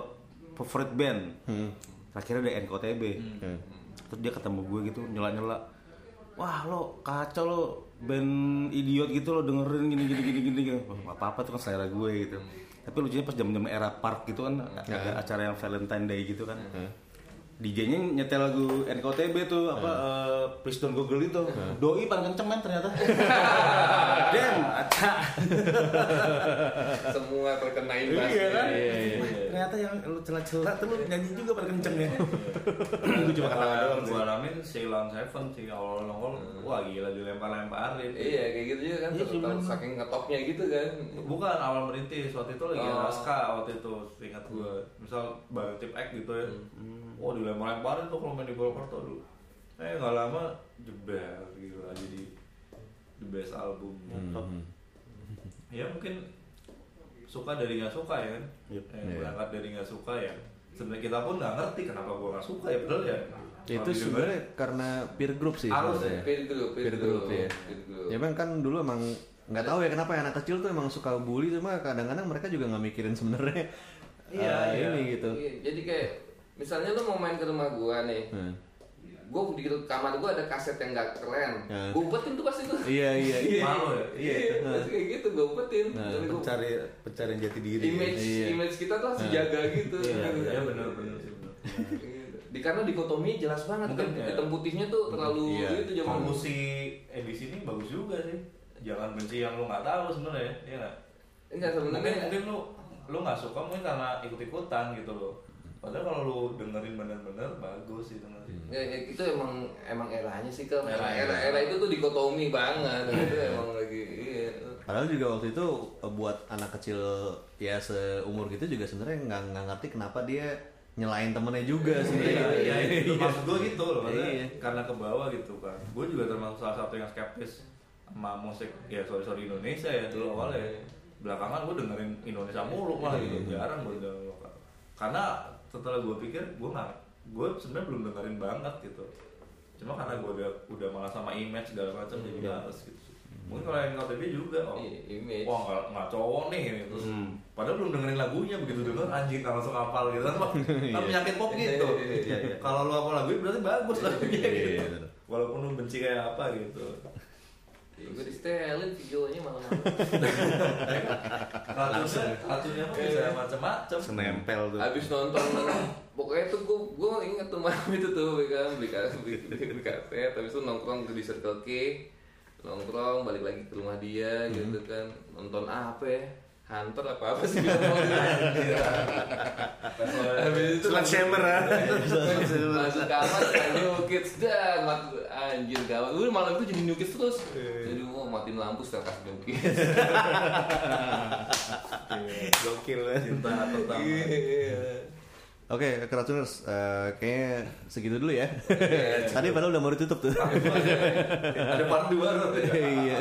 Speaker 5: favorite band. Akhirnya ada NKOTB. Terus dia ketemu gue gitu nyela-nyela. Wah lo kacau lo band idiot gitu lo dengerin gini gini gini gini. gini. Wah, nggak apa-apa tuh kan selera gue gitu. Tapi lucunya pas jam-jam era park gitu kan ada acara yang Valentine Day gitu kan. DJ-nya nyetel lagu NKOTB tuh apa eh, Please Don't Google itu. Doi paling kenceng men ternyata. Damn, acak.
Speaker 6: semua terkena imbas
Speaker 5: Iya kan? Ternyata yang lu celah-celah tuh lu nyanyi juga pada kenceng ya. Gue cuma kata doang sih.
Speaker 4: Iya. Gua alamin Ceylon Seven sih awal nongol wah gila dilempar-lemparin.
Speaker 6: Hmm. iya kayak gitu juga kan
Speaker 5: Iya,
Speaker 6: Terus
Speaker 5: cuman-
Speaker 6: saking ngetopnya gitu kan
Speaker 3: Iya.
Speaker 4: Bukan awal merintis waktu itu lagi
Speaker 6: Oh.
Speaker 4: naskah waktu itu ingat gua. Misal biotip act gitu ya. Wah dilempar-lemparin tuh kalau main di Purwokerto dulu. Eh nggak lama jeber gitu lah jadi the best album. Mantap. Ya mungkin suka dari nggak suka ya kan.
Speaker 5: Yep.
Speaker 4: Eh, berangkat dari nggak suka ya. Sebenarnya kita pun nggak ngerti kenapa gua nggak suka ya betul ya.
Speaker 3: Itu
Speaker 4: Tapi juga-
Speaker 3: sebenarnya karena peer group sih
Speaker 4: Harus,
Speaker 3: sebenarnya.
Speaker 6: ya, peer group
Speaker 3: Peer group ya.
Speaker 6: peer group.
Speaker 3: Ya bang kan dulu emang nggak tahu ya kenapa ya anak kecil tuh emang suka bully cuma kadang-kadang mereka juga nggak mikirin sebenarnya.
Speaker 4: Iya,
Speaker 3: ah,
Speaker 4: iya.
Speaker 3: ini gitu.
Speaker 6: Iya, jadi kayak misalnya lu mau main ke rumah gua nih
Speaker 3: Hmm.
Speaker 6: gua di kamar gua ada kaset yang nggak keren
Speaker 3: Hmm.
Speaker 6: gua umpetin tuh pasti tuh
Speaker 3: Iya iya iya.
Speaker 4: Malu ya?
Speaker 3: Iya. Nah.
Speaker 6: pasti kayak gitu gua umpetin Tapi gua-
Speaker 5: Pencari Iya, pencarian jati diri.
Speaker 6: image
Speaker 3: Iya.
Speaker 6: image kita tuh harus dijaga gitu
Speaker 4: Iya benar benar sih benar.
Speaker 6: Di karena dikotomi jelas banget
Speaker 4: Mungkin,
Speaker 6: kan
Speaker 4: ya.
Speaker 6: hitam putihnya tuh terlalu
Speaker 3: Iya.
Speaker 6: itu zaman dulu.
Speaker 4: Konklusi edisi ini bagus juga sih. Jangan benci yang lu nggak tahu sebenarnya, ya nggak?
Speaker 6: Enggak kan
Speaker 4: Mungkin,
Speaker 6: sebenarnya
Speaker 4: mungkin lu lu nggak suka mungkin karena ikut-ikutan gitu loh. Padahal kalau lu dengerin bener-bener bagus gitu nanti.
Speaker 6: Ya, ya, itu emang emang eranya sih kan era,
Speaker 4: Era-
Speaker 6: era era itu tuh dikotomi banget itu emang lagi iya.
Speaker 3: Padahal juga waktu itu eh, buat anak kecil ya seumur gitu juga sebenarnya nggak nggak ngerti kenapa dia nyelain temennya juga sebenarnya.
Speaker 4: Iya, iya,
Speaker 3: Iya.
Speaker 4: itu maksud gue gitu loh, maksudnya
Speaker 3: Iya.
Speaker 4: karena ke bawah gitu kan. Gue juga termasuk salah satu yang skeptis sama musik ya sorry sorry Indonesia ya dulu awalnya. Belakangan gue dengerin Indonesia mulu malah gitu, jarang gue dengerin lokal. Karena setelah gue pikir gue nggak, gue sebenarnya belum dengerin banget gitu. Cuma karena gue udah udah malah sama image segala macam jadi males gitu. Mungkin kalau yang KTP juga, oh,
Speaker 6: Iya, image.
Speaker 4: wah nggak nggak cowok nih, ini. terus padahal belum dengerin lagunya begitu
Speaker 6: Iya.
Speaker 4: denger anjing nggak langsung hafal gitu kan, kan penyakit pop gitu.
Speaker 6: Iya, iya, iya.
Speaker 4: Kalau lu apa lagunya berarti bagus lagunya
Speaker 3: Iya,
Speaker 4: gitu.
Speaker 3: iya, bener.
Speaker 4: Walaupun lu benci kayak apa gitu.
Speaker 6: Gue distelin videonya malam-malam.
Speaker 4: Racunnya, racunnya mah
Speaker 6: Iya.
Speaker 4: bisa macam-macam.
Speaker 5: senempel tuh
Speaker 6: Habis nonton pokoknya tuh gue gue inget tuh malam itu tuh beli kan beli ka- beli, beli, beli kaset habis itu nongkrong di Circle K nongkrong balik lagi ke rumah dia gitu kan nonton apa ya Hunter apa apa sih bilang mau Habis itu
Speaker 5: Sledgehammer ya
Speaker 6: masuk kamar kayak New Kids dan mat- anjir gawat lu malam itu jadi New Kids terus jadi wah matiin lampu setelah kasih New Kids
Speaker 5: Gokil
Speaker 4: Iya. Cinta tentang
Speaker 6: Iya.
Speaker 3: Oke, keracuners, eh, kayaknya segitu dulu ya.
Speaker 4: Iya,
Speaker 3: Tadi padahal udah mau ditutup tuh.
Speaker 4: ada part dua loh.
Speaker 3: Iya.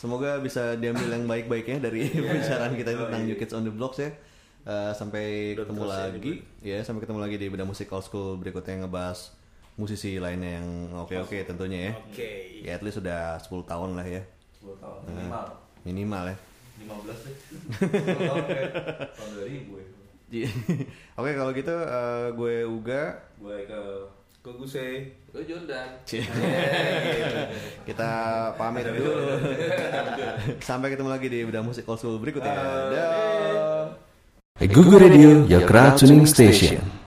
Speaker 3: Semoga bisa diambil yang baik-baiknya dari pembicaraan kita ini tentang New Kids on the Blocks ya. Eh, sampai ketemu lagi. iya. Ya, sampai ketemu lagi di beda musik old school berikutnya yang ngebahas musisi lainnya yang oke-oke tentunya ya.
Speaker 5: Oke
Speaker 3: Ya at least sudah 10 tahun lah ya.
Speaker 4: 10 tahun minimal.
Speaker 3: Minimal ya.
Speaker 4: 15 deh. 10 tahun kayak tahun 2000 ya.
Speaker 3: Ji- Oke, kalau gitu eh, gue Uga
Speaker 4: Gue ke
Speaker 5: Kok gue say
Speaker 6: lu Jordan
Speaker 3: kita pamit dulu. sampai ketemu lagi di beda musik old school berikutnya. Dah.
Speaker 2: Google Radio, your crowd tuning station.